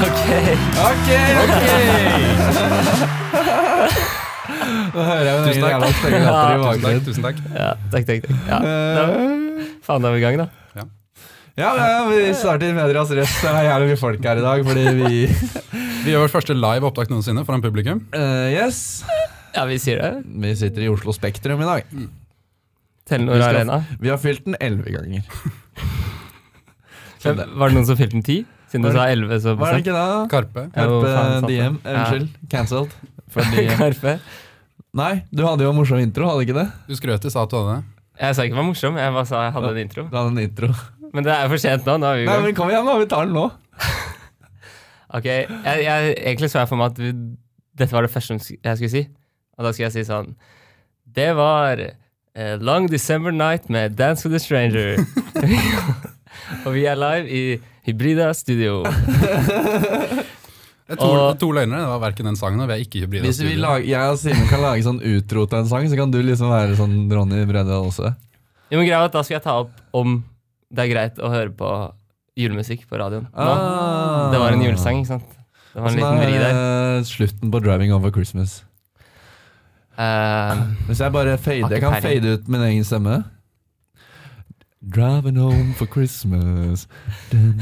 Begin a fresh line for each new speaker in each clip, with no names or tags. OK!
Da hører jeg min
Tusen
egen
takk.
jævla stygge latter i
Tusen takk.
bakgrunnen.
tusen takk.
Ja, takk, takk, takk. Ja, da,
Eh,
faen, da er vi i gang, da.
Ja, ja, vi starter Medias Røst. Det er jævlig mye folk her i dag, fordi vi
Vi gjør vårt første live opptak noensinne foran publikum.
Eh, Yes.
Ja, vi sier det.
Vi sitter i Oslo Spektrum i dag.
Telenor
Vi skal-
Arena.
Vi har fylt den elleve ganger.
Men, var det noen som fylte den ti? Siden
Var
du sa elleve, så
Var det ikke det?
Karpe.
Ja, hvor
Karpe
faen satt det?
DM. eh,
Ja.
Unnskyld. Cancelled. Fordi
Karpe.
Nei, du hadde jo en morsom intro, hadde ikke det?
Du skrøt i sa at du hadde det.
Jeg sa ikke det var morsom, jeg bare sa jeg hadde en intro.
Du hadde en intro.
Men det er for sent nå. nå er vi i
Nei,
gang.
men kom igjen, da. Vi tar den nå.
Ok, jeg, jeg, Egentlig så jeg for meg at vi, dette var det første jeg skulle si. Og da skulle jeg si sånn Det var eh, Long December Night med Dance with a Stranger. og vi er live i Hybrida studio.
Det er To,
Og-
to løgnere. Det var verken den sangen og vi er ikke hybride.
Hvis vi
studio.
lag, jeg og Simen kan lage sånn utro til en sang, så kan du liksom være sånn Ronny Brede også.
Jo, men greia er at Da skal jeg ta opp om det er greit å høre på julemusikk på radioen. Nå.
Ah.
Det var en julesang, ikke sant? Det var
Sånn
en liten vri der.
er eh, slutten på 'Driving Over Christmas'.
Eh,
Hvis jeg bare fader,
Har
jeg
ikke
kan
peiling.
fade ut min egen stemme. Driving home for Christmas dun,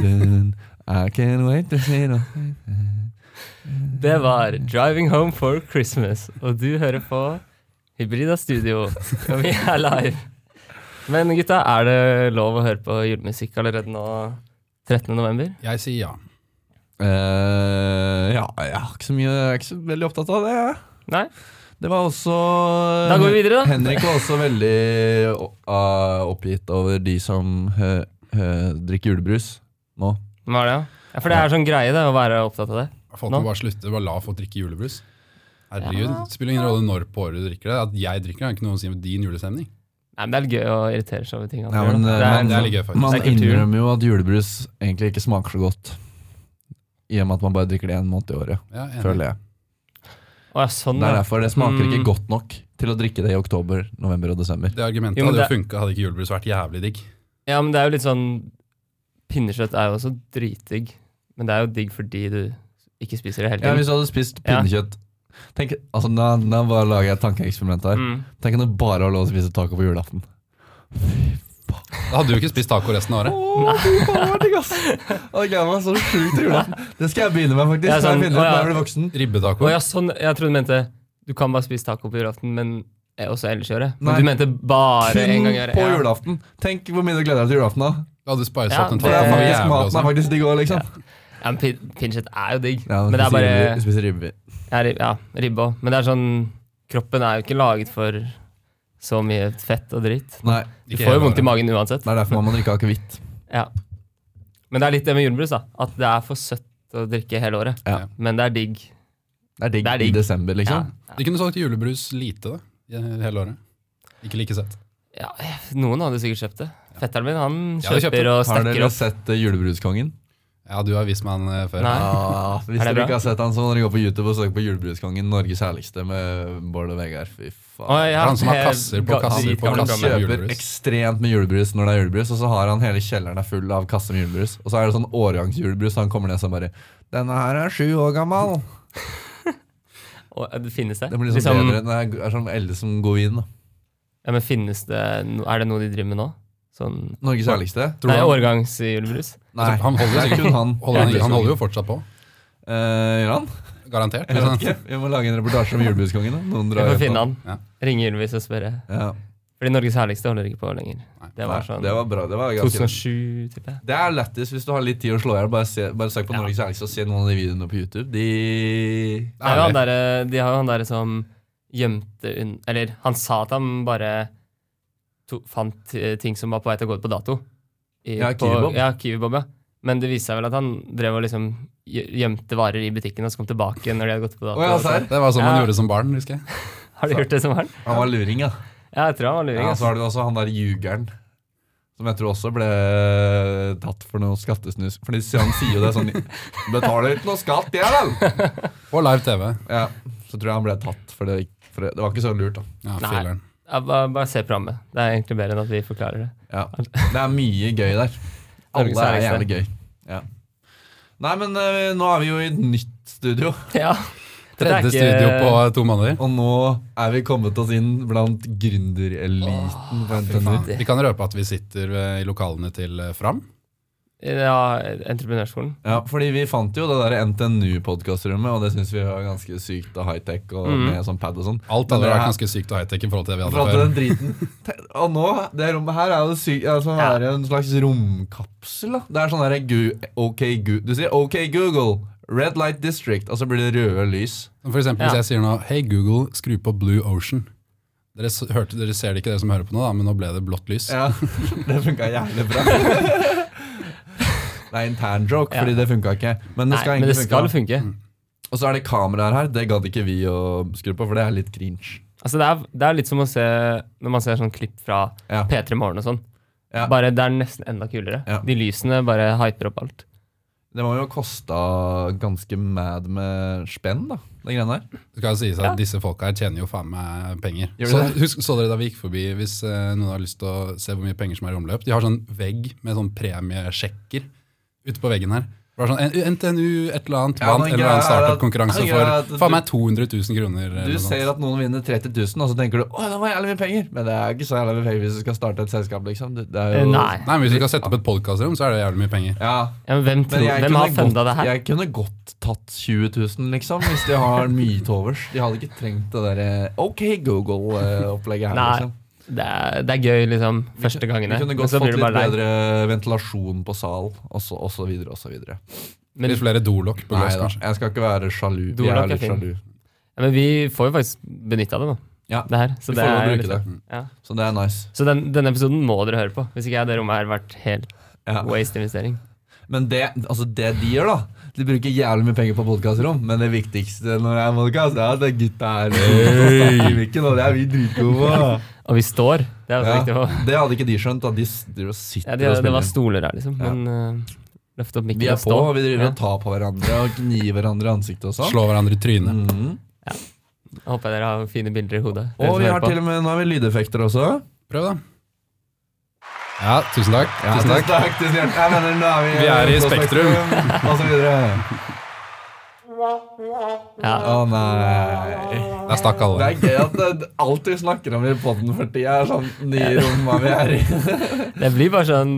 dun, dun. I can't wait to see the
det var 'Driving Home for Christmas', og du hører på Hybrida Studio. Og vi er live. Men gutta, er det lov å høre på julemusikk allerede nå 13. november?
Jeg sier ja.
Eh, Ja, jeg har ikke så mye Jeg er ikke så veldig opptatt av det, jeg.
Nei?
Det var også eh,
Da går vi videre, da.
Henrik var også veldig o- ah, oppgitt over de som hø, hø, drikker julebrus nå.
Hva er det, ja? ja? For det er sånn greie, det, å være opptatt av det.
Folk
Nå?
må bare slutte. Bare la folk drikke julebrus. Herregud, Det spiller ingen rolle når på året du drikker det. At jeg drikker det, har ikke noe å si med din julestemning.
Nei, men Det er litt gøy å irritere seg over ting.
Ja,
gjør,
men,
da.
eh,
det er, sånn-
men-
Det er litt gøy, faktisk.
Man
Det er kultur.
innrømmer jo at julebrus egentlig ikke smaker så godt. I og med at man bare drikker det én måned i året,
Ja, enig.
føler jeg.
Å, ja, sånn,
Det er
ja.
derfor det smaker
Mm.
ikke godt nok til å drikke det i oktober, november og desember.
Det argumentet
Jo, men
hadde
det-
jo funka hadde ikke julebrus vært jævlig digg.
ja, men det er jo litt sånn Pinnekjøtt er jo også dritdigg, men det er jo digg fordi du ikke spiser det hele
Ja,
tiden.
Hvis du hadde spist
Ja.
pinnekjøtt Tenk, altså, nå, nå bare lager jeg et tankeeksperiment her.
Mm.
Tenk om du bare har lov å spise taco på julaften.
Da hadde du ikke spist taco resten av året.
Åh, fy faen, det var digg, ass. Å, jeg gleder meg så sjukt til julaften. Det skal jeg begynne med, faktisk.
Ja,
Når
sånn,
jeg begynner,
å, ja.
når jeg blir voksen.
Ribbetaco.
Å ja, sånn. Jeg trodde du mente du kan bare spise taco på julaften, men eh, også ellers i året. Men
Nei.
du mente bare en
Kun
gang i året.
på
ja.
julaften. Tenk hvor mye du gleder deg til julaften da.
Da hadde du spart
Ja,
opp den
det-
For det er
tacoen. Det
faktisk,
var jævlig
maten er
også.
faktisk digg òg, liksom.
Ja, men pin- Pinnekjøtt er jo digg.
Ja,
men det er bare
spiser ribbe- spiser ribbe.
ja, rib- Ja, ribbe òg. Men det er sånn Kroppen er jo ikke laget for så mye fett og dritt.
Nei,
Du
Ikke
får jo
hele
vondt i
året.
magen uansett.
det er derfor man må drikke akevitt.
Ja. Men det er litt det med julebrus, da. At det er for søtt å drikke hele året.
Ja.
Men det er digg.
Det er digg,
Det er digg.
i desember, liksom.
Ja.
De kunne solgt julebrus lite, da. i Hele året. Ikke like sett.
Ja, noen hadde sikkert kjøpt det. Fetteren min han
Jeg hadde kjøpt det.
kjøper og
Har
stekker
dere
opp.
sett eh, Julebruskongen?
Ja, du er vismann eh, før.
Nei.
Ah, hvis
Er det
dere
bra?
ikke har sett han, så må dere gå på YouTube og søke på Julebruskongen. Norges herligste med Bård og Vegard. Fy
Å,
faen.
ja,
Han som har
he-
kasser på
ga-
kasser på
dritgamle
Han
programmer.
kasser. med
kjøper
julebrus.
ekstremt med julebrus når det er julebrus, og så har han hele kjelleren er full av kasser med julebrus. Og så er det sånn årgangsjulebrus, og han kommer ned sånn bare Denne her er sju år gammel.
Å, ja, det finnes det?
Det blir liksom,
Liksom-
bedre. Det er, er som eldre som går inn. da.
Ja, men finnes det no- Er det noe de driver med nå? Sånn
Norges herligste?
Nei, årgangsjulebrus?
Nei,
Altså, han holder
det er
sikkert-
kun han.
Holder han, han holder jo fortsatt på.
Eh, gjør han?
Garantert.
Jeg vet
liksom.
ikke. Vi må lage en reportasje om Julebruskongen. da. Noen
Vi
drar
får
hjem
finne
da.
han.
Ja.
Ringe Ylvis og spørre.
Ja.
Fordi Norges herligste holder ikke på lenger. Det var
Nei,
sånn
det var bra. Det var ganske
2007, tipper jeg.
Det er lættis hvis du har litt tid å slå i hjel. Bare, se- bare søk på
Ja.
Norges herligste og se noen av de videoene på YouTube. De
Det er jo han
Ærlig.
derre- de har jo han derre som gjemte unn... Eller han sa at han bare to, fant eh, ting som var på vei til å gå ut på dato. I,
Ja,
på-
Kiwi Bob.
Ja, Kiwi Bob, ja. Men det viste seg vel at han drev og liksom gje- gjemte varer i butikken, og så kom tilbake når de hadde gått på dato.
Å, ja,
og så-
serr?
Det var sånn man
Ja.
gjorde som barn, husker jeg.
har du gjort det som barn?
Han var luring, ja.
Ja, jeg tror han var luring. altså.
ja
ass.
så har du også han der ljugeren. Som jeg tror også ble tatt for noe skattesnus. Fordi han sier jo det sånn Betaler ikke noe skatt, jeg, da!
Og live TV.
Ja, så tror jeg han ble tatt for det. For det, det var ikke så lurt, da.
Ja,
Nei.
filleren.
Ja, bare, bare se programmet. Det er egentlig bedre enn at vi forklarer det.
Ja. Det er mye gøy der. Alle
Norges
er
herligste.
jævlig gøy. Ja. Nei, men eh, nå er vi jo i et nytt studio,
Ja. Dette er
Tredje
ikke-
studio på to måneder.
og nå er vi kommet oss inn blant gründereliten på
Fy faen.
NTNU.
Vi kan røpe at vi sitter eh, i lokalene til eh, Fram.
Ja, entreprenørskolen.
Ja, fordi vi fant jo det der NTNU-podkastrommet, og det syns vi var ganske sykt og high-tech og
Mhm.
med sånn pad og sånn.
Alt hadde
Men det
vært
er-
ganske sykt og high-tech i forhold til det vi
For at
hadde før.
den driten Te- Og nå, det rommet her er jo sykt altså,
Ja.
er en slags romkapsel. da Det er sånn derre gu- OK gu, Du sier OK Google, Red Light District, og så blir det røde lys.
For eksempel hvis
Ja.
jeg sier nå Hei, Google, skru på Blue Ocean. Dere, s- hørte, dere ser det ikke, dere som hører på nå, da, men nå ble det blått lys.
Ja, Det funka jævlig bra. Det er intern joke, fordi det funka ikke. Men det skal
Nei, men det
egentlig
skal
funke.
funke.
Og så er det kameraer her. Det gadd ikke vi å skru på, for det er litt cringe.
Altså, det er, det er litt som å se når man ser sånn klipp fra
Ja.
P3 Morgen og sånn.
Ja.
Bare Det er nesten enda kulere.
Ja.
De lysene bare hyper opp alt.
Det må jo kosta ganske mad med spenn, da. Det greiene der.
Det skal jo sies at disse folka her tjener jo faen meg penger.
Gjør de
Så,
det?
husk, så dere da vi gikk forbi, hvis eh, noen har lyst til å se hvor mye penger som er i omløp, de har sånn vegg med sånn premiesjekker ute på veggen her. Det var sånn N- NTNU, et eller annet,
Ja,
vant
men
en eller annen
greia er at-
startup-konkurranse
greia er at
for
du-
faen meg 200 000 kroner. eller
Du
noe sånt.
ser at noen vinner 30 000, og så tenker du å, det var jævlig mye penger. Men det er ikke så jævlig mye penger hvis du skal starte et selskap, liksom. Det, det er jo,
Eh, Nei.
Nei, men Hvis du skal sette opp et podkastrom, så er det jævlig mye penger.
Ja,
Ja, men hvem,
men
tror,
jeg,
hvem har
kunne
funda
godt,
det her?
jeg kunne godt tatt 20 000, liksom, hvis de har mye til overs. De hadde ikke trengt det der eh, OK Google-opplegget her,
Nei,
liksom.
Det er, det er gøy liksom
Vi
første gangene,
kunne
men
godt
så
fått
blir du
litt
bare lei.
bedre ventilasjon på sal, og så, og så videre, og så videre.
Men,
Litt flere dolokk på
Nei
glass,
da,
kanskje.
jeg skal ikke være sjalu.
Dolokk
Jeg
er
er litt
fin.
sjalu.
ja, men vi får jo faktisk benytta det, da.
Ja,
Det her. Så
Vi
det
får lov
er
å bruke
liksom,
det.
ja.
Så det er nice.
Så den, denne episoden må dere høre på. Hvis ikke hadde det rommet her vært helt
Ja.
waste investering.
Men det, altså det de gjør, da De bruker jævlig mye penger på podkastrom, men det viktigste når det er podkast, er at det er gutta her hey. i mikken, og det er vi dritgode på.
Og vi står. Det er også
Ja,
viktig å
det hadde ikke de skjønt. da De s- driver og sitter
ja, det,
og
det var
spiller.
stoler her, liksom.
Ja.
Men uh, løft opp
Vi
mikken
er
og
på,
stå.
og vi driver
Ja.
og tar på hverandre og gnir hverandre i ansiktet og sånn.
Slå hverandre i trynet.
Mhm.
Håper jeg dere har fine bilder i hodet. dere
Og
som
vi
hører
har
på.
til og med, nå har vi lydeffekter også.
Prøv, da. Ja, tusen takk.
Ja,
tusen takk.
tusen hjertelig. Jeg mener, nå er vi,
Vi er i
på
Spektrum.
og så videre.
ja.
Å nei.
Der stakk
Det
alle.
er gøy at det, alt vi snakker om i podden for tida, er sånn nye romma vi er i.
Det blir bare sånn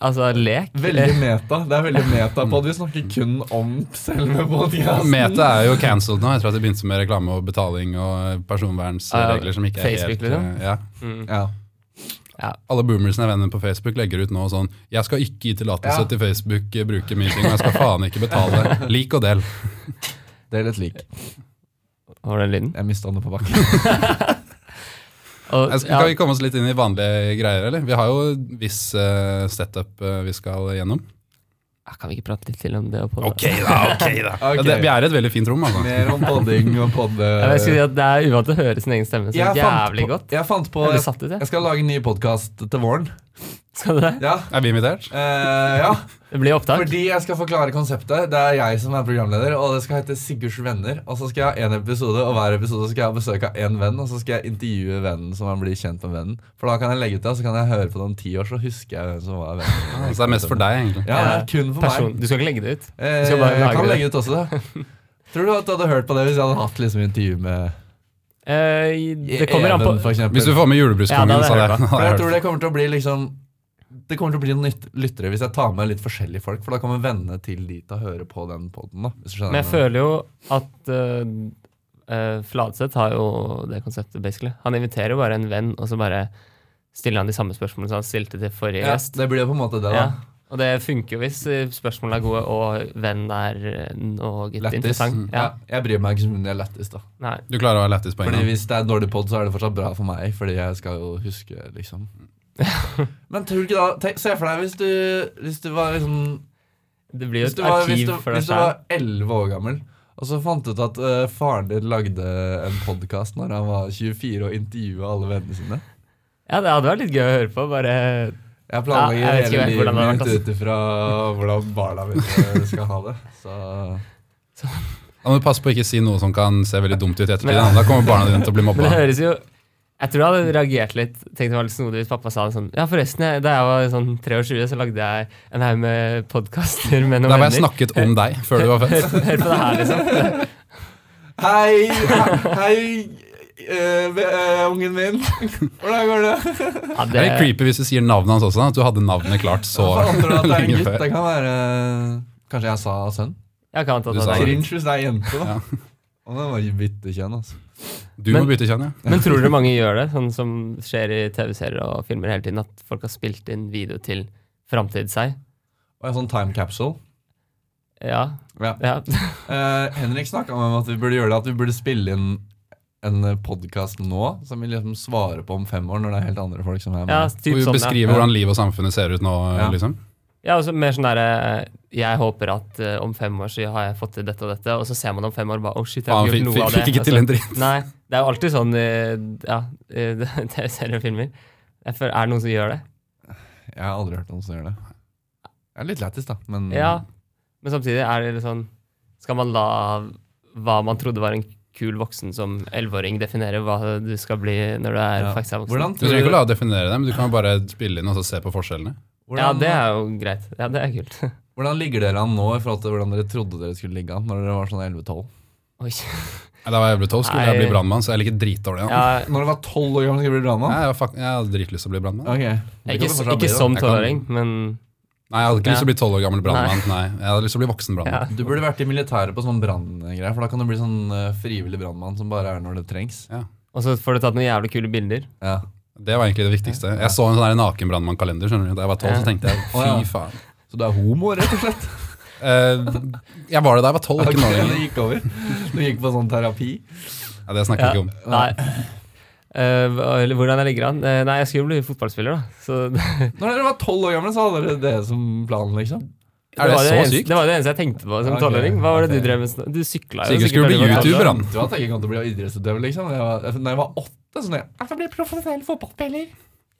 altså, lek.
Veldig meta. Det er veldig metapod. Vi snakker kun om selve podkasten.
Altså, Meta er jo cancelled nå etter at de begynte med reklame og betaling og personvernsregler som ikke er
Facebook,
helt
liksom?
eh, ja.
Ja.
Alle boomersene jeg venner på Facebook legger ut nå sånn Jeg skal ikke gi tillatelse
Ja.
til Facebook eh, bruke mine ting, og jeg skal faen ikke betale. Lik og del.
Det er litt lik.
Var den lyden?
Jeg mista den på bakken. Altså,
Og,
Jeg skal,
ja,
Kan vi komme oss litt inn i vanlige greier, eller? Vi har jo viss eh, setup eh, vi skal gjennom.
ja, kan vi ikke prate litt til om det? Og på det?
da, ok da. Ja, det, vi er et veldig fint rom, altså.
Mer om podding og podde...
Ja, men jeg skulle si at Det er uvant å høre sin egen stemme så
Jeg fant
jævlig
på-
godt.
Jeg fant på
Jeg ble
jeg,
satt ut, jeg.
skal lage en ny podkast til våren.
Skal du det?
Ja.
Er vi invitert?
Eh, ja.
Det blir opptak.
Fordi jeg skal forklare konseptet. Det er jeg som er programleder, og det skal hete Sigurds venner. Og så skal jeg ha én episode, og hver episode skal jeg ha besøk av én venn. Og så skal jeg intervjue vennen, så man blir kjent med vennen. For da kan jeg legge ut det, og så kan jeg høre på det om ti år, så husker jeg hvem som var vennen.
Så det er mest for deg, egentlig.
Ja, det er kun for
Person.
meg.
Du skal ikke legge det ut?
Eh,
skal bare
jeg
lagre
kan
det.
legge ut også det. Tror du at du hadde hørt på det hvis jeg hadde hatt liksom intervju med
Eh, i- det kommer an på
Even, for eksempel?
Hvis du får med julebruskongen,
Ja, da
så
hadde jeg
er det
For
hadde
jeg
jeg
tror
hørt.
det kommer til å bli liksom Det kommer til å bli noen nytt- lyttere hvis jeg tar med litt forskjellige folk. For da kommer vennene til de til å høre på den podden da. Hvis du skjønner
Men
hva
jeg
jeg
føler jo at eh, eh, Fladseth har jo det konseptet, basically. Han inviterer jo bare en venn, og så bare stiller han de samme spørsmålene som han stilte til forrige
Ja,
gjest.
det blir jo på en måte det, da.
Ja. Og det funker jo hvis eh, spørsmålene er gode, og vennen er eh, noe gitt
Lættis.
Mm.
interessant.
Ja.
Ja.
Jeg bryr meg ikke så mye om det er lættis, da.
Nei.
Du klarer å ha lættis på en
Fordi
gang.
hvis det er en dårlig pod, så er det fortsatt bra for meg, fordi jeg skal jo huske, liksom. Men tror du ikke da tenk, Se for deg hvis du, hvis du var liksom
Det blir jo
Hvis
et
du var, hvis
arkiv
du,
for deg
hvis du
selv.
var 11 år gammel, og så fant du ut at eh, faren din lagde en podkast når han var 24 og intervjua alle vennene sine.
Ja, det hadde vært litt gøy å høre på. Bare
Jeg planlegger
Ja, jeg vet ikke
hele
helt hvordan det har
livet
vært, altså.
mitt ut ifra hvordan barna mine skal ha det. Så
Da må du passe på å ikke si noe som kan se veldig dumt ut i ettertid.
Men-
da. Da kommer barna dine til å bli
Men det
mobba.
høres jo Jeg tror jeg hadde reagert litt. Tenkte det var litt snodig hvis pappa sa det sånn Ja, forresten, jeg, da jeg var sånn 23, så lagde jeg en haug med podkaster med noen
Der var jeg
venner.
snakket om deg før du var født.
Hør, hør på det her, liksom.
Hei, hei eh, be- eh, ungen min. Hvordan går det?
Ja,
Det er litt creepy hvis du sier navnet hans også, at du hadde navnet klart så
Hvorfor antar du at det er en
lenge
gutt?
før.
Det kan være Kanskje jeg sa sønn?
jeg kan anta
Du
det. er
sa det.
gutt.
Cringe hvis det er jente. da.
Ja.
Og det var byttekjønn, altså.
Du
Men-
må bytte kjønn, ja.
Men tror dere mange gjør det, sånn som skjer i TV-serier og filmer hele tiden, at folk har spilt inn video til framtid seg?
Og en sånn time capsule.
Ja.
Ja.
ja.
Eh, Henrik snakka om at vi burde gjøre det At vi burde spille inn en podkast nå som vi liksom svarer på om fem år, når det er helt andre folk som er med.
ja
Hvor
typ
vi
sånn, ja.
beskriver hvordan livet og samfunnet ser ut nå,
Ja.
liksom.
ja altså, mer sånn derre Jeg håper at eh, om fem år så har jeg fått til dette og dette, og så ser man om fem år bare Å, shit, jeg har
Faen,
ikke
fikk,
gjort noe
fikk,
av det. Altså,
fikk ikke til en dritt.
Nei, det er jo alltid sånn eh, ja, eh, TV-serier og filmer. Jeg føler, er det noen som gjør det?
Jeg har aldri hørt noen som gjør det. Det er litt lættis, da.
Mm.
Men
Ja. Men samtidig er det litt sånn Skal man la hva man trodde var en kul voksen som elleveåring, definere hva du skal bli når du er,
Ja.
faktisk er voksen?
hvordan
Du
tror du,
trenger ikke å la deg definere det, men du kan jo bare spille inn og så se på forskjellene.
Ja,
hvordan,
det er jo greit. Ja, det er kult.
hvordan ligger dere an nå i forhold til hvordan dere trodde dere skulle ligge an når dere var sånn 11-12?
Oi.
Nei, Da var jeg ble tolv, skulle jeg
Nei.
bli brannmann, så jeg liker dritdårlig. nå.
Ja,
Når du var 12 år gammel, skulle du bli drama?
Nei, jeg, var fak- jeg hadde dritlyst til å bli brannmann.
Ok. Det
ikke,
kan du
s-
fortsatt bli, da.
ikke som
Jeg kan-
tolvåring, men
Nei, jeg hadde ikke lyst til å
Ja.
bli tolv år gammel brannmann. Nei, jeg hadde lyst til å bli voksen brannmann.
ja.
Du burde vært i militæret på sånn branngreier, for da kan du bli sånn eh, frivillig brannmann som bare er når det trengs.
Og så får du tatt noen jævlig kule bilder.
Ja.
Det var egentlig det viktigste. Jeg så en sånn her nakenbrannmannkalender skjønner du, da jeg var tolv, så tenkte jeg
Å, ja.
fy faen.
Så du er homo, rett og slett?
Eh, jeg var det da jeg var tolv, ikke nå lenger.
det gikk over. Du gikk på sånn terapi.
Ja, det snakker vi ikke om.
Nei. Eh, hva- eller hvordan jeg ligger an? Eh, nei, jeg skulle jo bli fotballspiller, da. Så det,
Når dere var tolv år gamle, så hadde dere det som plan, liksom.
Er det
var
så
eneste,
sykt?
det var det eneste jeg tenkte på som
Ok,
tolvåring. Hva var det
ok.
du drev med? sånn- Du sykla jo.
Sigurd
sikkert
skulle bli
veldig godt.
YouTuber, han.
Du hadde ikke kommet til å bli idrettsutøver, liksom. Da jeg var, når jeg var åtte, sånn jeg, jeg skal bli profesjonell fotballspiller.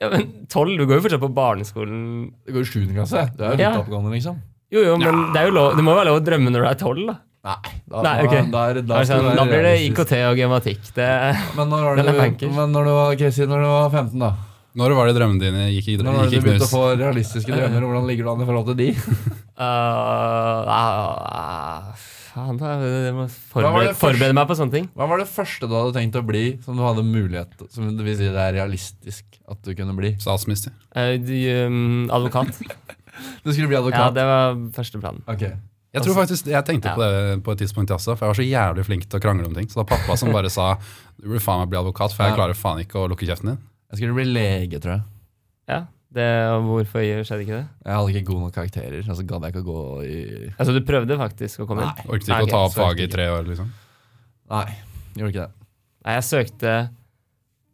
Ja, men tolv? Du går jo fortsatt på barneskolen.
Det går i sjuende klasse. Du er jo litt
Ja.
oppegående, liksom.
Jo, jo, men det, er jo lov, det må jo være lov å drømme når du er tolv, da.
Nei, da,
Nei, ok.
da, er-
Da,
da, skal du
sånn,
være
da blir det
realistisk.
IKT og gematikk. Det, eh,
Men når var det
Den er
du,
bankers.
men når du var, ok, si når du var 15, da?
Når var det drømmene dine gikk i,
Når var
gikk
det
i
du begynte å
knus?
få realistiske drømmer? og Hvordan ligger du an i forhold til de?
Øh, ah, Faen, da. Jeg må
Hva var det
forberede, forberede meg på sånne ting.
Hva var det første du hadde tenkt å bli som du hadde mulighet Som det vil si det er realistisk at du kunne bli?
Statsminister.
Eh, de, um, advokat.
Du skulle bli
Ja,
advokat?
det var første planen.
Ok.
Jeg tror faktisk, jeg tenkte
Ja.
på det på et tidspunkt jeg også, for jeg var så jævlig flink til å krangle om ting. Så det var pappa som bare sa du burde faen meg bli advokat, for
Ja.
jeg klarer faen ikke å lukke kjeften din.
Jeg skulle bli lege, tror jeg.
Ja, det, og Hvorfor skjedde ikke det?
Jeg hadde ikke gode nok karakterer. Altså gadd jeg ikke å gå i
Altså, Du prøvde faktisk å komme inn?
Orket ikke
Nei, ok,
å ta opp
så orket
faget i tre år, liksom.
Nei, gjorde ikke det.
Nei, jeg søkte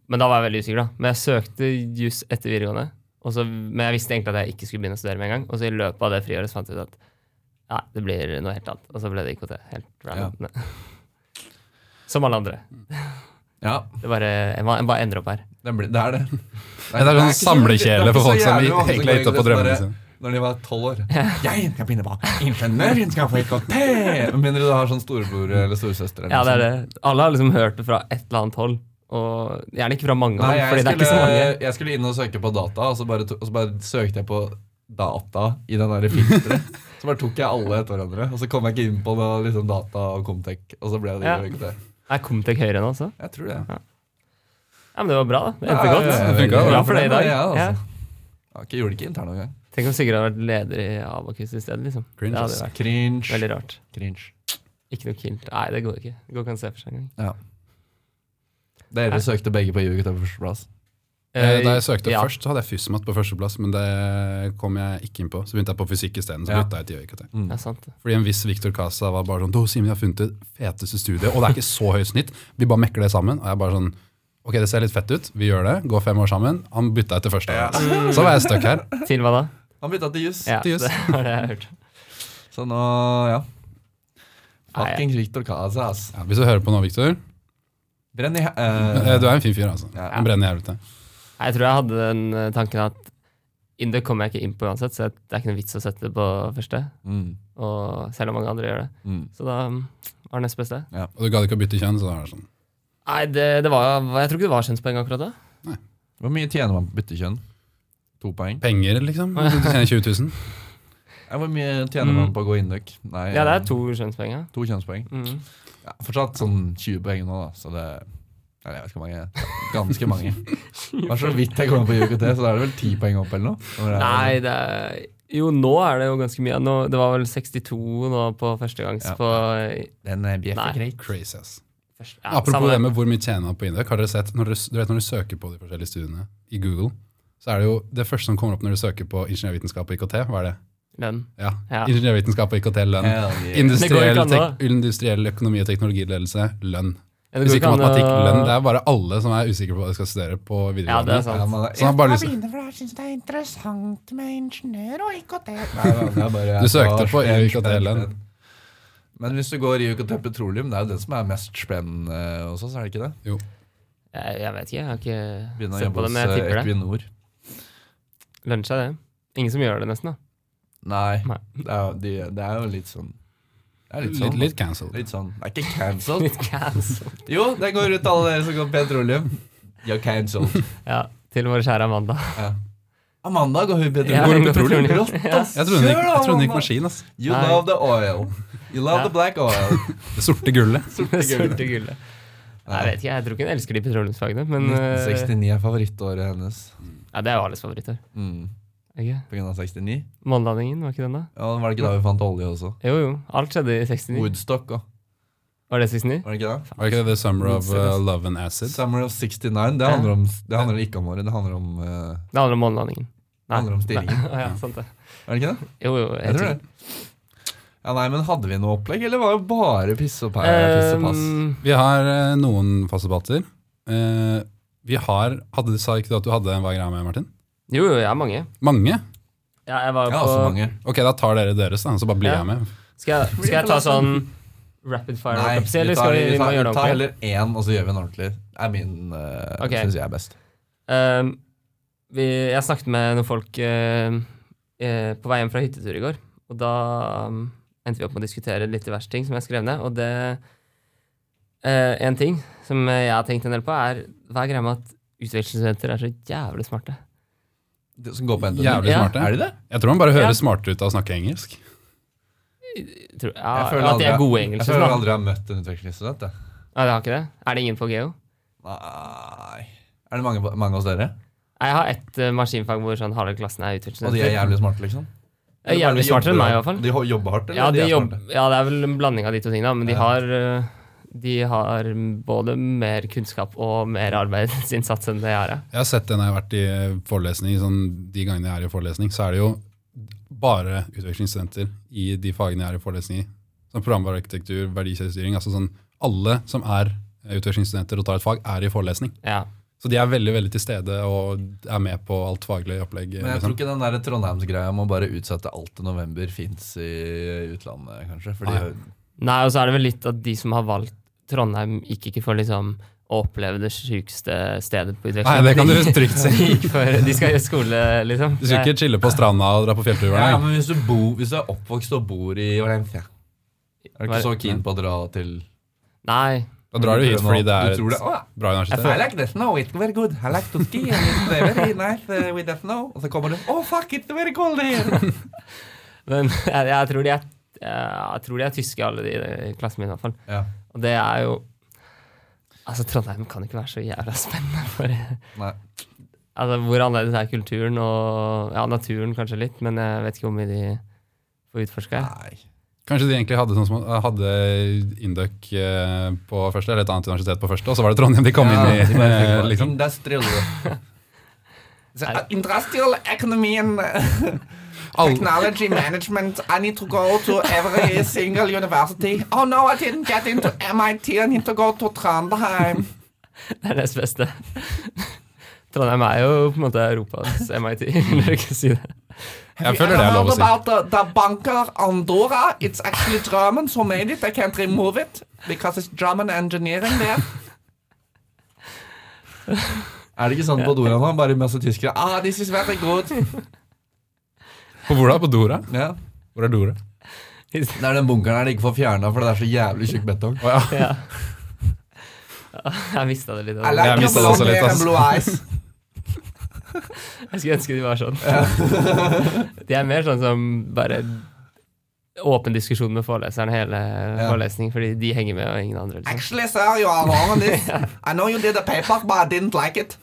Men da var jeg veldig usikker, da. Men jeg søkte juss etter videregående. Og så, men jeg visste egentlig at jeg ikke skulle begynne å studere med en gang. Og så i løpet av det friåret så fant jeg ut at nei, det blir noe helt annet. Og så ble det IKT. Helt random. Som alle andre.
Ja,
Det bare, jeg bare- jeg bare ender opp her.
det, blir, det er det.
Det er sånn samlekjele for folk som
egentlig
egentlig er ute på drømmene sine.
Når de var tolv år. Jeg skal begynne på ingeniøren, skal få IKT! Med mindre du har sånn storebror eller storesøster. eller
Ja,
noe
det er
sånt.
det. Alle har liksom hørt det fra et eller annet hold. Og gjerne ikke fra mange
Nei,
hold,
jeg,
fordi det er ikke så
skulle,
mange.
jeg skulle inn og søke på data, og så bare, to, og så bare søkte jeg på data i den der filteret. så bare tok jeg alle etter hverandre, og så kom jeg ikke inn på noe, liksom, data og Comtec. Og så ble det
Ja.
ikke det.
Er Comtec høyere nå også?
Jeg tror det.
Ja, men det var bra, da. Det endte godt.
ja. funket.
Glad for det i dag.
Ja,
Ja.
altså. Jeg har ikke- gjorde det ikke internt engang.
Tenk om Sigurd hadde vært leder i Abakus i stedet, liksom. Det
Cringe,
hadde
ass.
vært
Cringe.
veldig rart.
Cringe.
Ikke noe kult. Nei, det går ikke. Det går ikke an å se for seg engang.
Dere søkte begge på UiO på førsteplass.
Eh, Da jeg søkte
ja.
først, så hadde jeg FUSMAT på førsteplass, men det kom jeg ikke inn på. Så begynte jeg på fysikk isteden, så
Ja.
bytta jeg til IKT.
Ja, sant.
Fordi en viss Victor Casa var bare sånn Du, Simen, jeg har funnet det feteste studiet, og det er ikke så høyt snitt. Vi bare mekker det sammen. Og jeg bare sånn Ok, det ser litt fett ut. Vi gjør det. Går fem år sammen. Han bytta etter første året. Så var jeg stuck her.
Til hva da?
Han bytta til juss,
Ja,
Til juss.
det var det jeg hørte.
så nå ja.
Nei, jeg-
Fuckings Victor Casa, ass.
Ja, hvis du hører på nå, Victor.
Brenn i he-
eh,
eh,
Du er en fin fyr, altså.
Ja.
Han brenner i helvete.
Nei, Jeg tror jeg hadde den eh, tanken at Indøk kommer jeg ikke inn på uansett, så jeg- det er ikke noe vits å sette det på første.
Mm,
Og selv om mange andre gjør det.
mm.
Så da mm, var det neste beste.
Og du gadd ikke å bytte kjønn, så da er det sånn.
Nei, det, det var, jeg tror ikke det var kjønnspoeng akkurat da.
Hvor mye tjener man på byttekjønn? To poeng.
Penger, liksom. Du tjener 20 000.
Ja, hvor mye tjener
Mm.
man på å gå induk? Nei,
Ja, det
eh,
er to kjønnspoeng, ja.
to kjønnspoeng.
Mm.
Ja, fortsatt sånn 20 poeng nå, da. Så det Eller jeg vet ikke hvor mange. Ganske mange. Det var så vidt jeg kommer på UKT, så da er det vel 10 poeng opp eller noe? Når det er-
Nei, det er Jo, nå er det jo ganske mye. Nå, det var vel 62 nå på førstegangs
Ja.
på
Den eh, bjeffen
Nei.
greit.
Crazy, ass.
første,
Apropos
samme
det med hvor mye tjener man på Induk. Har dere sett, når du, du vet når du søker på de forskjellige studiene i Google, så er det jo det første som kommer opp når du søker på ingeniørvitenskap og IKT, hva er det?
Lønn.
Ja,
Ja.
Ingeniørvitenskap og IKT, lønn.
Hell yeah.
Industriell,
Det går ikke an,
tek, industriell økonomi og teknologiledelse, lønn.
Ja, det
Hvis
går ikke
ikke
an å-
matematikk, lønn. Det er bare alle som er usikre på hva de skal studere på
Ja, det
videregående.
er
Ja,
sant.
men det-
så han har bare lyst til
begynner, for jeg syns det er interessant med ingeniør og IKT.
Nei, men det er bare-
Du søkte
Ja,
på
spenn,
UKT
spenn,
LN.
spenn. Men hvis du går i UKT petroleum, det er jo den som er mest spennende også, så er det ikke det?
Jeg, jeg vet ikke, jeg har ikke
Begynne å
sett
jobbe
på det,
hos
men jeg
eh,
tipper det.
Equinor.
Lunsj er det. Ingen som gjør det, nesten. da.
Nei,
Nei.
Det, er, jo- de, det er jo litt sånn Det er litt sånn.
Litt, litt cancelled.
Litt sånn. Det er ikke cancelled.
Litt cancel.
Jo, det går ut til alle dere som går petroleum. You're cancelled.
Ja, til vår kjære Amanda.
Ja. Amanda går hun
Ja,
petroleum.
Går hun
jeg tror
petroleum?
det.
Rått,
Ja.
ass.
Jeg trodde hun gikk,
Kjør da,
jeg trodde hun
Amanda.
gikk maskin, ass.
You
Nei.
love the oil. You love
Ja.
the black oil.
Det sorte gullet.
Det sorte gullet. Nei, Jeg vet ikke, jeg tror ikke hun elsker de petroleumsfagene, men eh,
1969 er favorittåret hennes.
ja, det er jo alles favorittår.
Mm.
Ikke?
På grunn av 69.
Månelandingen, var ikke den da?
Ja, var det ikke da vi fant olje også?
Jo, jo. Alt skjedde i 69.
Woodstock òg,
Var det 69?
var det ikke det?
Var det ikke det The Summer of uh, Love and Acid?
Summer of 69. Det handler, om, det handler ikke om året, det handler om, eh,
Det handler om månelandingen.
det handler om stillingen.
Nei. Ja, sant det.
Er det ikke det?
Jo, jo.
Jeg tror det. Ja, nei, men Hadde vi noe opplegg, eller var det bare piss og pæ? piss og pass?
Um,
Vi har eh, noen faste debatter. Eh, vi har hadde, du- Sa ikke du at du hadde en hva er greia med, Martin?
jo, jo, jeg er mange.
Mange?
Ja, jeg var
Jeg
på,
har også mange.
Ok, da tar dere deres, da, så bare blir
Ja.
jeg med.
Skal, jeg, skal jeg ta sånn rapid fire?
Nei,
Nei,
vi
eller
tar,
skal vi,
vi
vi må
tar,
gjøre det
tar
ordentlig?
heller én, og så gjør vi den ordentlig. Det er min, uh,
Ok.
synes jeg er best.
Um, vi, jeg snakket med noen folk eh, eh, på vei hjem fra hyttetur i går, og da um, endte vi opp med å diskutere litt diverse ting som jeg skrev ned, og det eh, En ting som jeg har tenkt en del på, er hva er greia med at utvekslingsstudenter er så jævlig smarte?
Det som går på NTNU.
Jævlig
Ja.
smarte.
Er de det?
Jeg tror han bare hører
Ja.
smartere ut av å snakke engelsk.
Tror, ja,
Jeg føler
at de er
aldri-
gode i
Jeg
engelsk. liksom.
føler
da.
aldri jeg har møtt en utvekslingsstudent. jeg.
Ja, det har ikke det? Er det ingen på Geo?
Nei Er det mange, på- mange hos dere?
Nei, Jeg har ett eh, maskinfag hvor sånn halve klassen er
Og de
utvekslingsstudenter.
er jævlig smarte, liksom?
De er jævlig smartere enn meg, i hvert fall.
De ho- jobber hardt, eller?
Ja, de
er
jobb,
smarte?
ja, det er vel en blanding av de to tingene, men de
Ja.
har, eh, de har både mer kunnskap og mer arbeidsinnsats enn det jeg har. ja.
Jeg har sett det når jeg har vært i forelesning, sånn, de gangene jeg er i forelesning, så er det jo bare utvekslingsstudenter i de fagene jeg er i forelesning i. Sånn programarkitektur, verdikjedestyring, altså sånn alle som er eh, utvekslingsstudenter og tar et fag, er i forelesning.
Ja.
Så de er veldig veldig til stede og er med på alt faglig opplegg.
Men jeg tror ikke
Liksom.
den der Trondheims-greia om å bare utsette alt til november fins i utlandet, kanskje. Fordi
Nei.
Nei, og så er det vel litt at de som har valgt Trondheim, gikk ikke for liksom å oppleve det sjukeste stedet på
Nei,
utveksling.
det kan du trygt si.
De, gikk for, de skal gjøre skole, liksom.
Du skal ikke chille på stranda og dra på fjelltur
ja,
hver dag.
men hvis du, bor- hvis du er oppvokst og bor i Valencia, er du ikke
Hva-
så keen på å dra til
Nei.
Da drar du hit fordi det
Du
er
tror det,
et
«Å, ja.
bra universitet.
like the snow, it's very good. I like to ski, and it's very nice uh, with the snow. Og så kommer du Oh, fuck, it's very cold here!
Men jeg, jeg, tror de er, jeg tror de er tyske, alle de i klassen min i hvert fall.
Ja.
Og det er jo Altså, Trondheim kan ikke være så jævla spennende for
Nei.
Altså, Hvor annerledes er kulturen og ja, naturen kanskje litt, men jeg vet ikke hvor mye de får utforska.
Nei.
Kanskje de egentlig hadde sånn som hadde Induc eh, på første, eller et annet universitet på første, og så var det Trondheim de kom
Ja,
inn i. eh, liksom.
Industrial. Så, uh, Industrial economy and uh,
Alle-
technology management. I need to go to every single university. Oh no, I didn't get into MIT. I need to go to Trondheim.
Det er nest beste. Trondheim er jo på en måte Europas MIT, vil du ikke si det?
Jeg føler det er lov å si.
the, the bunker Andorra? It's actually German who made it. They can't remove it because it's German engineering there. Er det ikke sånn på Dora nå? Bare masse tyskere. Ah, this is very good.
På hvor da? På Dora?
Ja.
Hvor er Dora?
Det er den bunkeren her de ikke får fjerna, for det er så jævlig tjukk betong.
Å ja.
Ja. Jeg mista det litt.
I
Jeg
like your
mistet det
blonde
også litt,
hair and
ass.
blue eyes.
Jeg skulle ønske de var sånn. De er mer sånn som bare åpen diskusjon med foreleseren hele
Ja.
forelesning, fordi de henger med, og ingen andre. Liksom.
Actually, sir, you are wrong on this. I know you did a paper, but I didn't like it.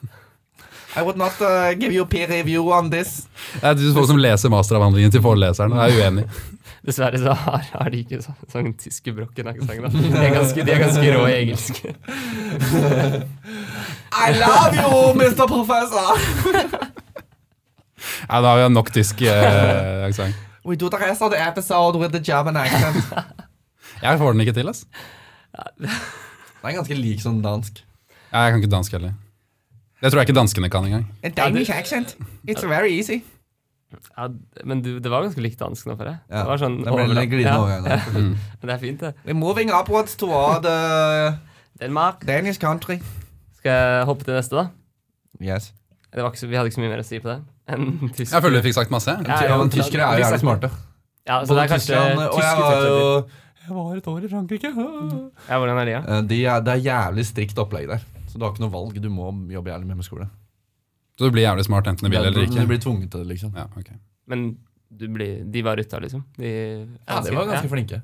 I would not uh, give you peer review on this.
Det er typisk folk som leser masteravhandlingen til foreleseren og er uenig.
Dessverre så har, har de ikke så, sånn tyske brokken-aksent. da. De er ganske, de er ganske rå i engelsk.
I love you, Mr. Professor!
Nei, da har vi nok tysk eh, aksent.
We do the rest of the episode with the German accent.
Jeg får den ikke til, ass.
Det er ganske lik sånn dansk.
Ja, Jeg kan ikke dansk heller. Det tror jeg ikke danskene kan engang.
En
Danish
accent. It's very easy.
Ja, d- men du, det var ganske likt dansk nå, føler jeg.
Ja,
Det var sånn
det ble litt
overlapp.
glidende overgang der.
Mm.
men det er fint, det.
We're moving upwards toward the
Danmark.
Danish country.
Skal jeg hoppe til neste, da?
Yes.
Det var ikke så, vi hadde ikke så mye mer å si på det. enn tysk.
Jeg føler du fikk sagt masse. jeg.
Ja, ja, men
tyskere er jo
liksom-
jævlig smarte.
Ja,
Altså,
så det er kanskje
eh, og jeg
tyske
var jo
fortsetter.
Jeg var et år i Frankrike.
Ja, hvordan er de, da?
Eh, De er, det er jævlig strikt opplegg der. Så du har ikke noe valg. Du må jobbe jævlig mye med skole.
Så du blir jævlig smart enten du vil eller
Du
ikke.
blir tvunget til det, liksom.
Ja, ok.
Men du blir, de var ute, liksom? De,
Ja, de var ganske flinke.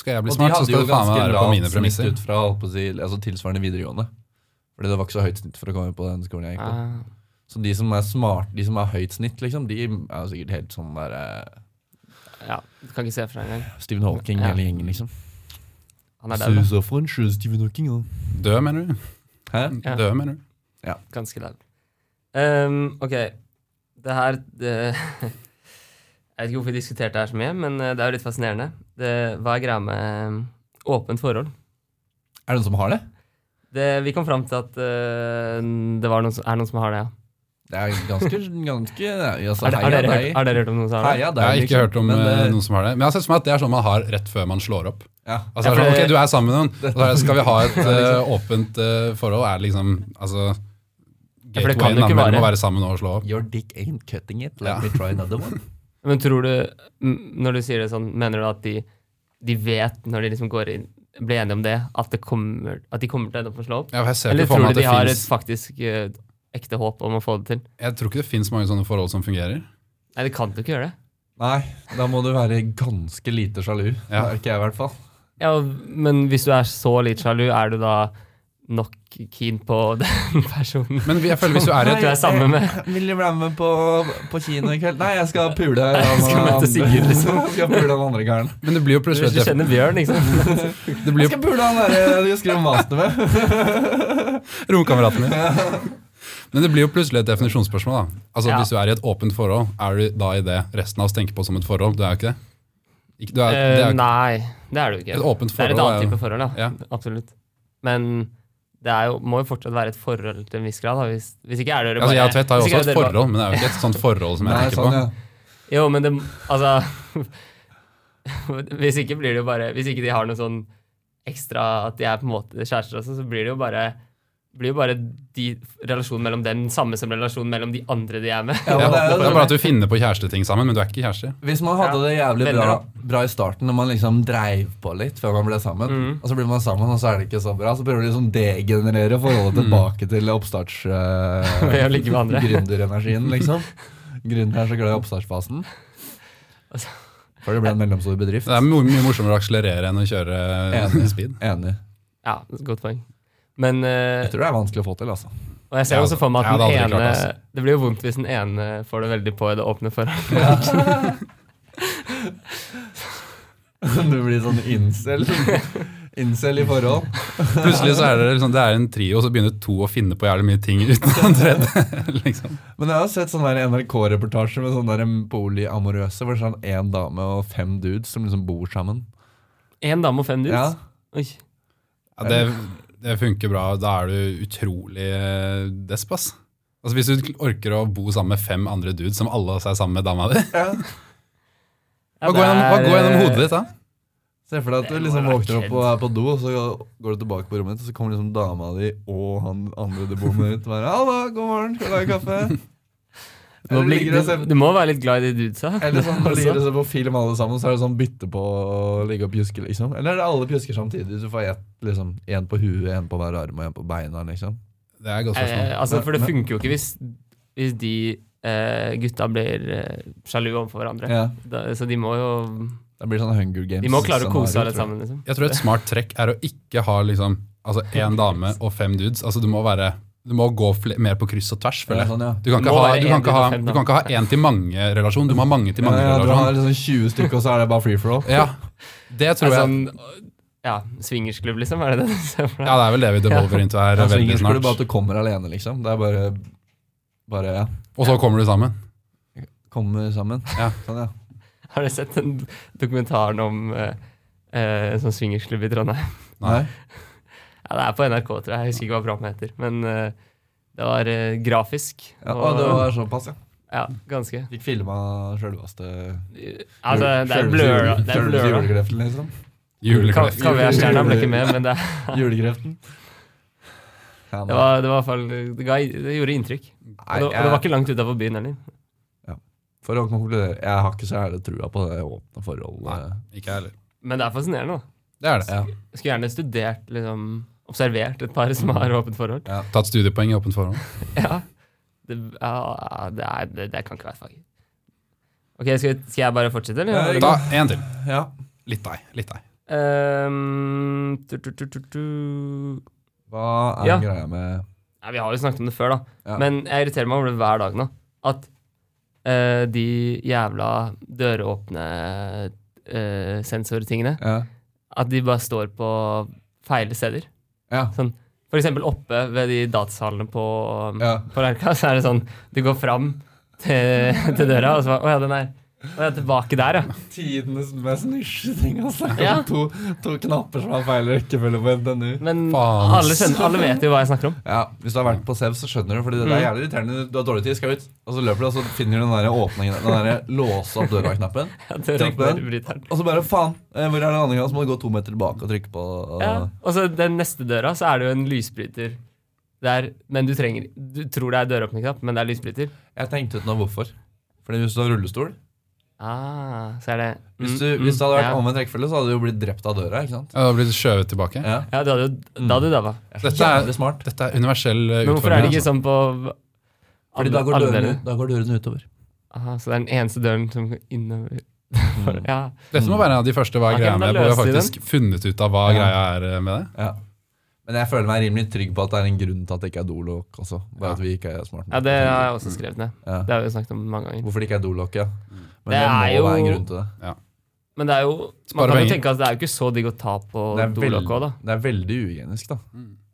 Skal jeg bli
Og de
smart, så
hadde jo
skal det faen meg
ganske
være på mine
lavt snitt
premisser.
ut fra holdt på å si, altså, tilsvarende videregående. Fordi det var ikke så høyt snitt for å komme på den skolen jeg gikk
ja.
på.
Ah,
Så de som er smart, de som har høyt snitt, liksom, de er jo sikkert helt sånn der eh,
ja, du kan ikke se for deg engang.
Stephen Hawking
Ja.
hele gjengen, liksom.
Han er dau. da.
så for en sjø Stephen Hawking, da.
Død, mener du?
Hæ?
Ja.
Død, mener du?
Ganske dau. Ehm, ok, det her det, Jeg vet ikke hvorfor vi diskuterte det her så mye, men eh, det er jo litt fascinerende. Det, hva er greia med eh, åpent forhold?
Er det noen som har det?
Det, vi kom fram til at eh, det var noen, som- er noen som har det, ja.
Det er ganske, ganske altså,
Har, de-
heia
har, dere,
deg.
hørt, har dere hørt om noen som har det?
Heia deg,
Jeg har ikke
liksom.
hørt om
Men,
eh,
eh,
noen som har det. Men jeg har sett for meg at det er sånn man har rett før man slår opp.
ja.
Altså,
Ja,
det er
for-
sånn, ok, Du er sammen med noen, og så er det, skal vi ha et eh, åpent eh, forhold? Er det liksom altså,
Ja, for det kan
Gatewayen
jo ikke
da, mellom
være-
å være sammen og slå opp.
Your dick ain't cutting it. Let
Ja.
me try another one.
Men tror du, m- når du sier det sånn, mener du at de, de vet, når de liksom går inn, blir enige om det, at, det kommer, at de kommer til å ende opp med å slå opp?
Ja, for jeg, ser
Eller
ikke for
tror
meg
du
at
de
det
har
finnes,
et faktisk eh, ekte håp om å få det til?
jeg tror ikke det fins mange sånne forhold som fungerer.
Nei, de kan jo ikke gjøre det.
Nei, da må du være ganske lite sjalu. Det
Ja.
er ikke jeg, i hvert fall.
Ja, men hvis du er så litt sjalu, er du da nok keen på den personen
Men jeg føler hvis du er i
at du
et
er sammen med?
Vil du bli med på, på kino i kveld? Nei, jeg skal pule han
skal
andre-
møte Sigurd, liksom.
Jeg skal pule han andre karen.
Men det blir jo
Du,
plutselig
du
et,
kjenner Bjørn, ikke sant?
det
Jeg
blir
skal pule han derre du skrev master med.
jo romkameraten min. Men det blir jo plutselig et definisjonsspørsmål. da. Altså
Ja.
Hvis du er i et åpent forhold, er du da i det resten av oss tenker på som et forhold? Du er jo ikke det? Ikke, du er, det
Eh,
er, jo-
Nei, det er du ikke.
Et åpent
Det er et
forhold
annet
er jo-
type forhold, da.
Ja.
Absolutt. Men det er jo, må jo fortsatt være et forhold til en viss grad. Da. Hvis, hvis ikke er det jo
altså,
bare
jeg og Tvedt har jo
hvis ikke er
også et
det bare-
forhold, men det er jo ikke et sånt forhold som jeg
Nei,
tenker
sånn,
på.
ja.
Jo, men det Altså Hvis ikke blir det jo bare Hvis ikke de har noe sånn ekstra At de er på en måte kjærester også, så blir det jo bare blir jo bare de, relasjonen mellom dem samme som relasjonen mellom de andre de er med.
Ja,
Ja,
men
det
det er jo
er
sånn-
bare at du finner på kjæresteting sammen, men du er ikke kjærester.
Hvis man hadde det jævlig
Venner,
bra,
da.
bra i starten, når man liksom dreiv på litt før man ble sammen,
Mm.
og så blir man sammen, og så er det ikke så bra, så prøver du liksom degenerere forholdet tilbake til oppstarts... eh,
Mm. Ved å ligge med andre.
Gründerenergien, liksom. Gründer er så glad i oppstartsfasen.
Altså.
Før det ble en mellomstor bedrift.
Det er mye, mye morsommere å akselerere enn å kjøre eh,
Enig.
speed.
Enig.
Ja, godt poeng. Men eh,
Jeg tror det er vanskelig å få til, altså.
Og jeg ser
Ja,
også for meg at
jeg hadde
den
aldri
ene
klart det, altså.
Det blir jo vondt hvis den ene får det veldig på i det åpne forholdet.
Du blir sånn incel. Incel i forhold.
Plutselig så er det liksom, det er en trio, og så begynner to å finne på jævlig mye ting uten den tredje. liksom.
Men jeg har sett sånne der NRK-reportasjer med sånne der polyamorøse, hvor det er sånn én dame og fem dudes som liksom bor sammen.
Én dame og fem dudes?
Ja.
Oi.
Ja, det, det funker bra. Da er du utrolig eh, desp, ass. Altså, hvis du orker å bo sammen med fem andre dudes som alle er sammen med dama di,
Ja,
hva
det
går gjennom, hva
er,
går gjennom
eh,
hodet ditt da?
Se for deg at
Det
du
må
liksom
være
våkner opp
kødd.
og er på do, og så går du tilbake på rommet ditt, og så kommer liksom dama di og han andre du bor med ut og bare 'Halla, god morgen, skal du ha kaffe?'
Du må,
Eller
bli,
ligger
du,
og ser-
eh, du må være litt glad i de dudesa.
Eller sånn, når de
Altså.
ligger og ser på film alle sammen, så er det sånn bytte på å ligge og pjuske, liksom. Eller er det alle pjusker samtidig? Du får ett, liksom. Én på huet, én på hver arm og én på beina, liksom.
Det er et godt spørsmål.
Eh, altså,
Men-
for det
men-
funker jo ikke hvis, hvis de eh, gutta blir eh, sjalu overfor hverandre.
Ja.
Da, så de må jo
Det blir sånn Hunger Games.
De må klare å kose seg
scenario, tror
litt
jeg.
sammen, liksom.
Jeg tror et smart trekk er å ikke ha liksom, altså én dame og fem dudes. Altså, du må være du må gå fl- mer på kryss og tvers, føler
Ja,
jeg.
sånn, ja.
Du kan
Det
ikke
altså, må
ha
være
du
en
kan ikke
til
ha,
fem,
du
da.
kan ikke ha én til mange-relasjon. Du må ha mange til
Ja, ja, du har
sånn.
mange-relasjon.
liksom 20 stykker, og så er det bare free for all.
Ja, det tror
Altså,
jeg.
ja, swingersklubb, liksom? Er det det du ser for deg?
Ja, det er vel det vi devolver into her
Ja,
veldig
Svinger skulle bare
snart.
at du kommer alene, liksom. Det er bare Bare, ja.
Og så kommer du sammen.
Kommer sammen.
Ja.
Sånn, ja.
Har du sett den dokumentaren om eh, eh, en sånn swingersklubb i Trondheim?
Nei.
Ja, det er på NRK, tror jeg. Jeg husker ikke hva programmet heter. Men eh, det var eh, grafisk.
Ja, og det var såpass, ja.
ja, ganske.
Fikk filma sjølveste
Altså, det er blur, da. Det er blur, da.
Julegreften, liksom.
Ka-
Julekreft.
Kaviarstjerna ble ikke med, men det,
Julegreften. Ja,
det, var, det var i hvert fall det, ga, det gjorde inntrykk. Og det, og det var ikke langt utafor byen heller.
For å konkludere, jeg har ikke så ærlig trua på det åpne forholdet.
Ikke jeg heller.
Men det er fascinerende, da.
Det er det.
Ja.
Jeg skulle gjerne studert, liksom observert et par som har åpent forhold.
Tatt studiepoeng i åpent forhold.
Ja. Det, ja, det, er, det, det kan ikke være fag. Ok, skal, skal jeg bare fortsette, eller?
Ja,
Ta en til.
Ja.
Litt deg. Litt deg.
Ehm, tu, tu, tu, tu, tu.
Hva er
Ja.
greia med
Nei, vi har jo snakket om det før, da.
Ja.
Men jeg irriterer meg over det hver dag nå. At eh, de jævla døråpne eh, sensortingene
Ja.
At de bare står på feile steder.
Ja.
Sånn, for eksempel oppe ved de datahallene på, um,
ja.
på Lerka, så er det sånn Du går fram til, til døra, og så bare Å ja, den er Å ja, tilbake der, ja.
Tidenes mest nisjeting, altså.
Ja.
To, to knapper som har feil rekkefølge på NTNU.
Men
Faen.
alle, skjønner, alle vet jo hva jeg snakker om.
Ja, Hvis du har vært på Sev, så skjønner du. Fordi det, det er
Mm.
jævlig irriterende Du har dårlig tid, skal ut, og så løper du, og så finner du den der åpningen, den der låse opp døra-knappen.
Ja,
Trykk på den.
døråpnerbryteren.
Og så bare faen, eh, hvor er den andre gangen? Så må du gå to meter tilbake og trykke på og,
Ja. Og så den neste døra, så er det jo en lysbryter der, men du trenger Du tror det er døråpningsknapp, men det er lysbryter.
Jeg tenkte ut nå hvorfor. Fordi hvis du har rullestol
Ah, så er det
Hvis,
mm,
du, hvis det hadde vært
ja.
omvendt rekkefølge, så hadde du jo blitt drept av døra. ikke sant?
Ja, Da blir det skjøvet tilbake.
Ja,
Ja, du hadde jo Da hadde du
Mm.
daua.
det er
Dette er-
jævlig smart.
Dette er universell eh,
Men hvorfor er det
utforming.
ikke sånn på
altså. Fordi da går,
alle
dørene,
deler?
da går dørene utover.
Aha, så det er den eneste døren som går innover
Mm.
Ja.
altså. Dette må være en av de første hva er
sånn? Ok,
greia
men da
med, hvor vi har
løser vi
faktisk funnet ut av hva
Ja.
greia er eh, med det.
Ja. Men jeg føler meg rimelig trygg på at det er en grunn til at det ikke er dolokk også. Bare at vi ikke er smart
ja, det har jeg også skrevet ned.
Ja.
Det har vi jo snakket om mange ganger.
Hvorfor det ikke er dolokk, ja. Men det,
Det
må
er jo-
være en grunn til det.
Men det er jo
Spare
Man kan jo
penger.
tenke at det er jo ikke så digg å ta på
Det er,
dolokket òg, da.
det er veldig uhygienisk, da.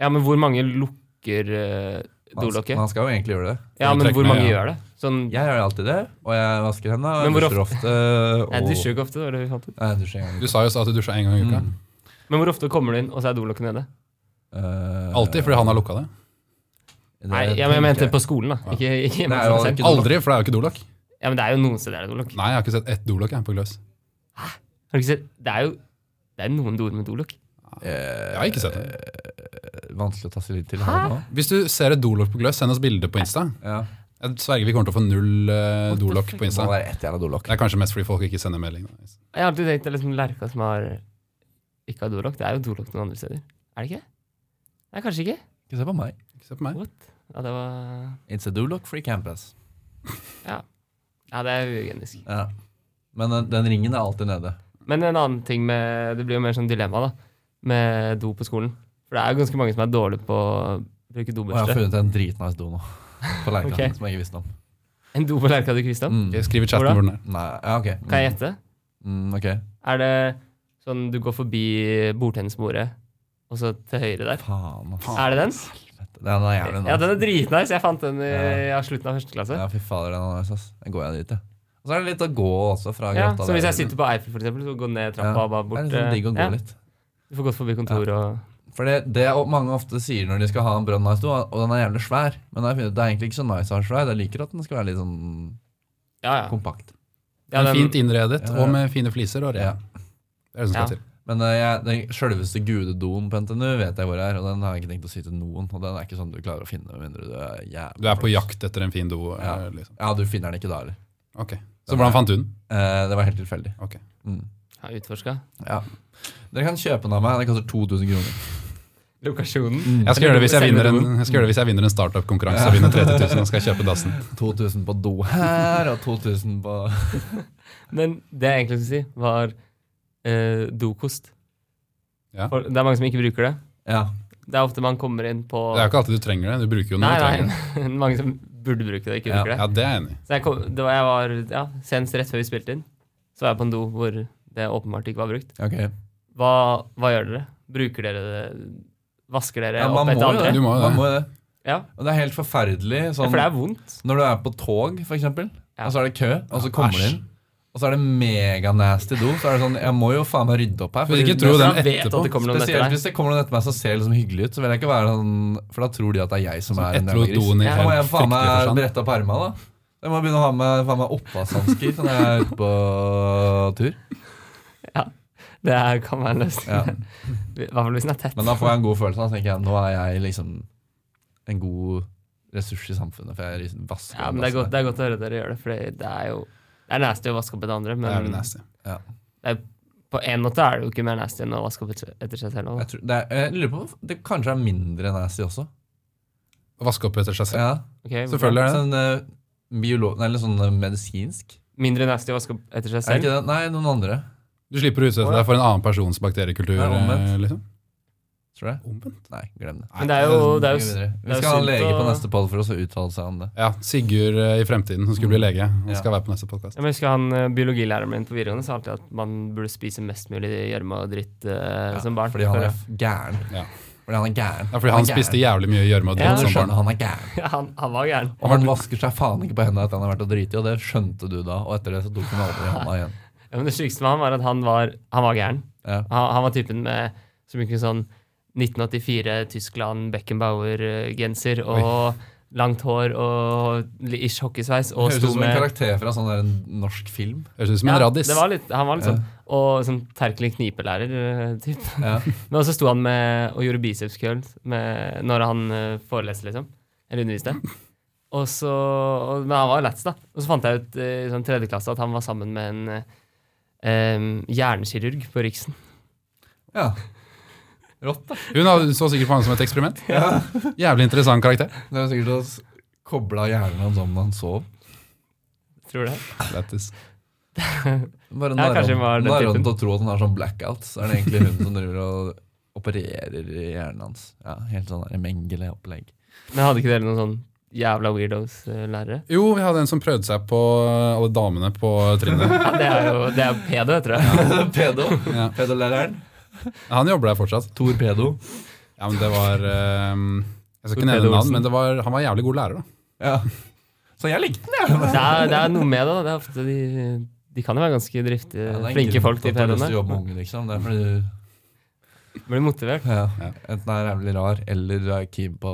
Ja, men hvor mange lukker eh,
Man,
dolokket?
man skal jo egentlig gjøre det.
Ja,
du
men
trekker
hvor
ned,
mange
ja.
gjør det? Sånn
Jeg gjør jo alltid det, og jeg vasker hendene. Og
Men
jeg
hvor
dusjer ofte. Og...
Jeg dusjer jo ikke ofte, det var det vi fant ut.
Nei, jeg dusjer en gang.
Du sa jo så at du dusja én gang i uka.
Mm. Men hvor ofte kommer du inn, og så er dolokket nede?
Eh,
Alltid, fordi han har lukka det.
det
Nei,
tenker
jeg, jeg mente på skolen, da. Ikke, ikke hjemme
Nei,
hos meg
jeg har
selv.
dolokk.
Aldri, for det er jo ikke dolokk.
Ja, men det er jo noen steder det er dolokk.
Nei, jeg har ikke sett ett dolokk jeg, på Gløs.
Har du ikke sett? Det er jo det er noen doer med dolokk.
Jeg har ikke sett
Eh,
det.
eh, Vanskelig å ta seg litt til her nå.
Hvis du ser et dolokk på Gløs, send oss bilde på Insta.
Ja.
Jeg sverger vi kommer til å få null eh, dolokk på
Det må
Insta.
være ett jævla dolokk.
Det er kanskje mest fordi folk ikke sender melding.
Jeg har alltid tenkt at liksom Lerka som har ikke har dolokk, det er jo dolokk noen andre steder. Er det ikke? Nei, kanskje ikke.
Ikke se på meg.
Ikke se på meg.
What? Ja, det var
It's a dolokk free campus.
Ja, det er uhygienisk.
Ja. Men den, den ringen er alltid nede.
Men en annen ting med Det blir jo mer sånn dilemma, da. Med do på skolen. For det er jo ganske mange som er dårlige på å bruke
Og jeg har
dobørste.
funnet en dritnice do nå. På Lerka,
Ok.
som jeg ikke visste om.
En do på Lerka du ikke visste om?
Mm.
Ok, Skriv i chatten
Hvordan?
hvor den er.
Nei, ja, ok. Mm.
Kan jeg gjette?
Mm, ok.
Er det sånn du går forbi bordtennisbordet, og så til høyre der?
Faen, ass.
Er det den?
Den er jævlig
Ja, den er dritnice. Jeg fant den i
Ja.
ja, slutten av første klasse.
Ja, fy fader, den er nice, ass. Jeg går jeg dit, jeg. Og så er det litt å gå også fra
Ja,
grotta
så hvis
der.
jeg sitter på Eiffel, for eksempel, så går jeg ned
Ja,
trappa og bare bort.
Det er litt sånn digg å
eh,
gå
ja.
litt.
Du får gått forbi kontoret og
For det, det er- mange ofte sier når de skal ha en brønnnice do, og den er jævlig svær. Men jeg finner, ut, det er egentlig ikke så nice å ha svær. Jeg liker at den skal være litt sånn
Ja, ja.
kompakt.
ja
Den er
den,
fint innredet
Ja, ja.
og med fine fliser og rea.
Ja.
Det er det som skal
Ja.
til.
Men eh, jeg, den sjølveste gudedoen på NTNU vet jeg hvor er, og den har jeg ikke tenkt å si til noen. Og den er ikke sånn du klarer å finne med mindre du er jævlig
Du er på
flaks.
jakt etter en fin do?
Ja.
eh, Liksom.
Ja, du finner den ikke da heller.
Ok, Så hvordan fant du den?
Eh, det var helt tilfeldig.
Ok.
Mm.
Har utforska.
Ja. Dere kan kjøpe den av meg. Den koster 2000 kroner.
Lokasjonen.
Jeg skal gjøre det hvis jeg
Selve
vinner en,
doen.
jeg skal gjøre det hvis jeg vinner en startup-konkurranse og vinner 30 000 og skal kjøpe dassen.
2000 på do her, og 2000 på
Men det jeg egentlig skulle si, var eh, dokost.
Ja.
For det er mange som ikke bruker det.
Ja.
Det er ofte man kommer inn på
Det er jo ikke alltid du trenger det. Du bruker jo noe.
Nei,
du trenger det.
nei, men mange som burde bruke det, ikke
Ja,
bruker det.
Ja, det er jeg enig i.
Så jeg, kom, det var, jeg var ja, senest rett før vi spilte inn, så var jeg på en do hvor det åpenbart ikke var brukt.
Ok.
Hva, hva gjør dere? Bruker dere det? Vasker dere
Ja,
opp
man må
etter
jo det.
andre?
Du må jo
Man
det.
må jo det.
Ja.
Og det er helt forferdelig.
ja,
Sånn,
for det er vondt.
Når du er på tog, for eksempel,
Ja.
og så er det kø, og så kommer du
æsj.
inn, og så er det meganasty do, så er det sånn Jeg må jo faen meg rydde opp her.
Men ikke
fordi-
tro
Man
den
vet at
etterpå.
det kommer noen etter
Spesielt
deg.
hvis det kommer noen etter meg som ser liksom hyggelig ut, så vil jeg ikke være sånn For da tror de at det er jeg som er en
Etterlot
gris.
doen i
Ja.
Da må
helt
jeg faen
fryktelig
meg
forstand.
brette opp ermene, da. Jeg må begynne å ha med faen meg oppvaskhansker når jeg er ute på tur.
Det er, kan være en løsning.
Ja.
I hvert fall hvis den er tett.
Men da får jeg en god følelse. Da tenker jeg nå er jeg liksom en god ressurs i samfunnet. For jeg liksom vasker
Ja,
og
men det
vasker.
er, godt, det er godt å høre dere gjør det, for det er jo Det er nasty å vaske opp etter andre,
Det
men
er jo nasty.
på en måte er det jo ikke mer nasty enn å vaske opp etter etter seg selv.
Jeg,
da.
tror, det er, jeg lurer på om det kanskje er mindre nasty også.
Å vaske opp etter seg selv.
Ja,
Ok,
Selvfølgelig er det det.
sånn eh, biolo- nei, eller sånn eh, medisinsk.
Mindre nasty å vaske opp etter seg
Er det
selv.
ikke det? Nei, noen andre.
Du slipper å utsette deg for en annen persons bakteriekultur.
Nei, omvendt.
eh, liksom.
Tror jeg.
Omvendt?
Nei, glem det.
Men det er jo, det er
Vi
jo
går videre.
er
Vi
jo
skal ha en
sunt
lege på
å-
neste poll for oss å uttale seg om det.
Ja, Sigurd eh, i fremtiden, som skulle bli lege. Han
Ja.
skal være på neste podcast.
Jeg husker han eh, biologilæreren min på videregående sa alltid at man burde spise mest mulig gjørme og dritt eh, som barn.
Fordi han
For-
er f- gæren.
Ja.
Fordi han er gæren.
Ja, fordi han
er gæren.
spiste jævlig mye gjørme og
Ja,
dritt
Du
som barn.
skjønner, han er gæren.
ja, han, han var gæren.
Og han vasker seg faen ikke på hendene etter han har vært og driti, og det skjønte du da. Og etter det så tok han aldri hånda igjen.
Ja, men det sykeste med han var at han var, han var gæren.
Ja.
Han, han var typen med så mye sånn 1984 Tyskland Beckenbauer-genser og langt hår og li- ish hockeysveis og
Høres ut
sto
som en
med
karakter fra sånn der en norsk film.
Høres ut som en
Ja,
raddis.
Det var litt, han var litt
Ja.
sånn. Og sånn terkelig knipelærer, eh, typ.
Ja.
Men også sto han med, og gjorde bicepskøll med- når han eh, foreleste, liksom. Eller underviste. Og så, og, men han var jo lættis, da. Og så fant jeg ut eh, i sånn tredje klasse at han var sammen med en eh, em, hjernekirurg på Riksen.
ja. Rått, da.
Hun hadde- så sikkert på han som et eksperiment. Jævlig interessant karakter.
Det er sikkert å koble av hjernen hans om når han sov.
Tror du det?
Lættis.
Bare
Ja, kanskje hun var den
narrer
typen.
han til å tro at han har sånn blackout, så er det egentlig hun som driver og opererer i hjernen hans. Ja, Helt sånn der Mengele-opplegg.
Men hadde ikke dere noen sånn jævla weirdos-lærere?
Jo, vi hadde en som prøvde seg på eh, alle damene på trinnet.
Ja, det er jo det er jo pedo, heter det.
Pedo.
Ja.
Pedolæreren.
Han jobber der fortsatt.
Tor Pedo.
Ja, men det var ehm, Jeg skal ikke
Peder
nevne navn,
Olsen.
men det var, han var jævlig god lærer, da.
Ja. Så jeg likte den, jeg.
Det er, det er noe med det. da. Det er ofte de, de kan jo være ganske driftige,
Ja, det er en
Eh, flinke
grunn
folk,
til at
de
du har lyst til å jobbe
pedoene.
med unge, liksom. Det er fordi du
Blir motivert.
ja.
Ja.
enten er jævlig rar eller er keen på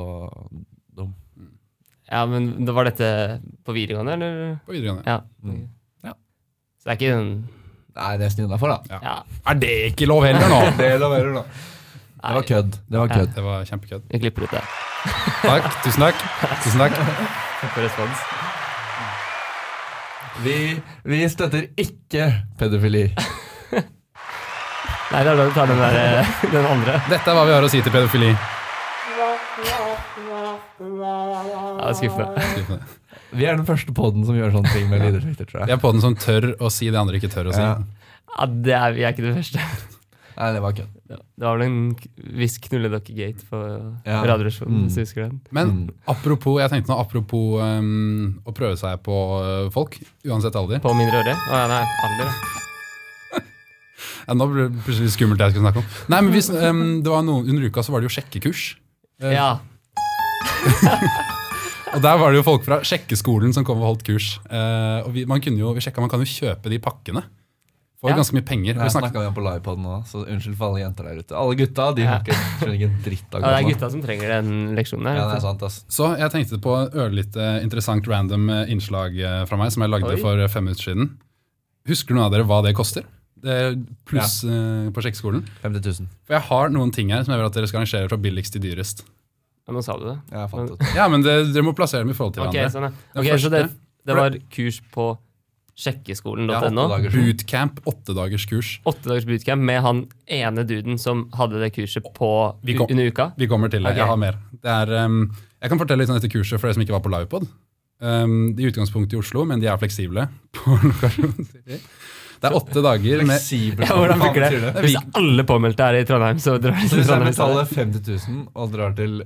dum.
Ja, men da var dette på videregående, eller?
På videregående.
Ja.
Mm. Ja.
Så det er ikke en
Nei, nesten innafor, da.
Ja.
Er det ikke lov heller nå?!
Det loverer, da. Det
Nei,
var kødd. Det var kødd.
Det var kjempekødd.
vi klipper ut det.
Takk. Tusen takk. Tusen takk.
For respons.
Vi, vi støtter ikke pedofili.
Nei, det er da du tar den, der, eh, den andre.
Dette er hva vi har å si til pedofili.
Ja, det er skuffende.
Vi er den første poden som gjør sånne ting med lydeffekter, tror
Vi
jeg.
er på den som tør å si det andre ikke tør å si.
Ja.
Ja, det er, vi er ikke det første.
Nei, det var kødd.
Det var vel en k- viss knulledokke-gate på
Ja.
Radioresjonen,
Mm.
hvis du husker den.
Men
Mm.
apropos jeg tenkte nå, apropos ehm, å prøve seg på eh, folk, uansett alder
På mindreårige? Å ja, nei, alder. ja.
ja, Nå ble det plutselig skummelt det jeg skulle snakke om. Nei, men hvis, ehm, det var noen, Under uka så var det jo sjekkekurs. Eh,
Ja.
Og der var det jo folk fra sjekkeskolen som kom og holdt kurs. Eh, og vi, man, kunne jo, vi sjekket, man kan jo kjøpe de pakkene. For
Ja.
ganske mye penger.
Her
Vi snakket,
snakka vi om på livepoden nå, så unnskyld for alle jenter der ute. Alle gutta de har
Ja.
ikke, skjønner ikke en dritt av
ja, det er
korona.
gutta som trenger den leksjonen her.
Ja, det er sant, ass.
Så jeg tenkte på et ørlite interessant random eh, innslag eh, fra meg som jeg lagde
Oi.
for eh, fem minutter siden. Husker noen av dere hva det koster? eh, pluss eh, på sjekkeskolen.
50 000.
For jeg har noen ting her som jeg vil at dere skal rangere fra billigst til dyrest.
Ja, nå sa du det.
Jeg har fant det.
Ja, men det, Dere må plassere dem i forhold til
Ok,
hverandre.
sånn, ja.
Den
Ok, så det,
første-
det var kurs på sjekkeskolen.no.
Ja, åtte dager siden.
Bootcamp, åttedagers kurs.
Åtte dagers bootcamp med han ene duden som hadde det kurset på
Vi kom-
under uka.
Vi kommer til det.
Ok.
Jeg har mer. Det er, ehm, jeg kan fortelle litt om dette kurset for dere som ikke var på Livepod. Um, de er i utgangspunktet i Oslo, men de er fleksible. på lokasjon. Det er åtte dager med
Fleksibel.
Ja, hvordan funker
Faen, sier
det? Hvis alle påmeldte er i Trondheim, så drar de
Så hvis
til
jeg
Trondheim. i
betaler
stedet.
50 000 og drar til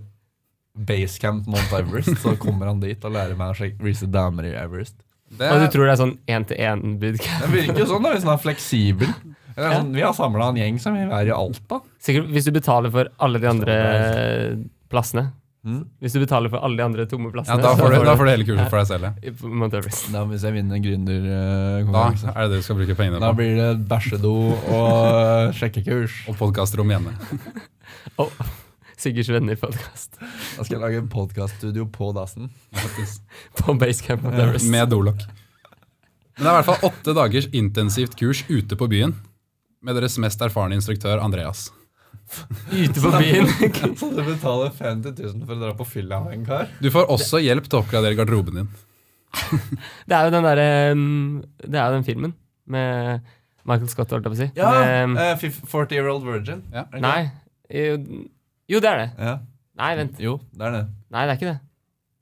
Basecamp Mount Everest, så kommer han dit og lærer meg å sjekke vise damer i Everest.
det
Og du
er,
tror det er sånn én-til-én-bootcamp?
Det virker jo sånn da, hvis han er fleksibel. Eller
Ja.
Sånn, vi har samla en gjeng som vil være i Alta.
Sikkert hvis du betaler for alle de andre plassene.
Mm.
Hvis du betaler for alle de andre tomme
ja,
plassene,
da,
så
får du, da får du hele kurset for deg selv. ja.
du på Mount Everest.
Da, hvis jeg vinner
Da
gründerkonkurranse,
er det det du skal bruke pengene
da
på.
blir det bæsjedo og eh, sjekkekurs.
Og podkastrom hjemme.
Sigurds venner-podkast
Da skal jeg lage podkaststudio på dassen.
på Basecamp Mount Everest.
Med dolokk. Men det er i hvert fall åtte dagers intensivt kurs ute på byen med deres mest erfarne instruktør Andreas.
Ute på byen.
Så du betaler 50 000 for å dra på fylla med en kar?
Du får også hjelp til å oppgradere garderoben din.
Det er jo den derre um, Det er jo den filmen med Michael Scott, holdt jeg på å si.
Ja!
Med,
eh, fif- 40 year old virgin.
Ja.
Er det ikke
nei. Jo, jo, det er det.
det? Ja.
Nei, vent.
Jo, det er det.
Nei, det er ikke det.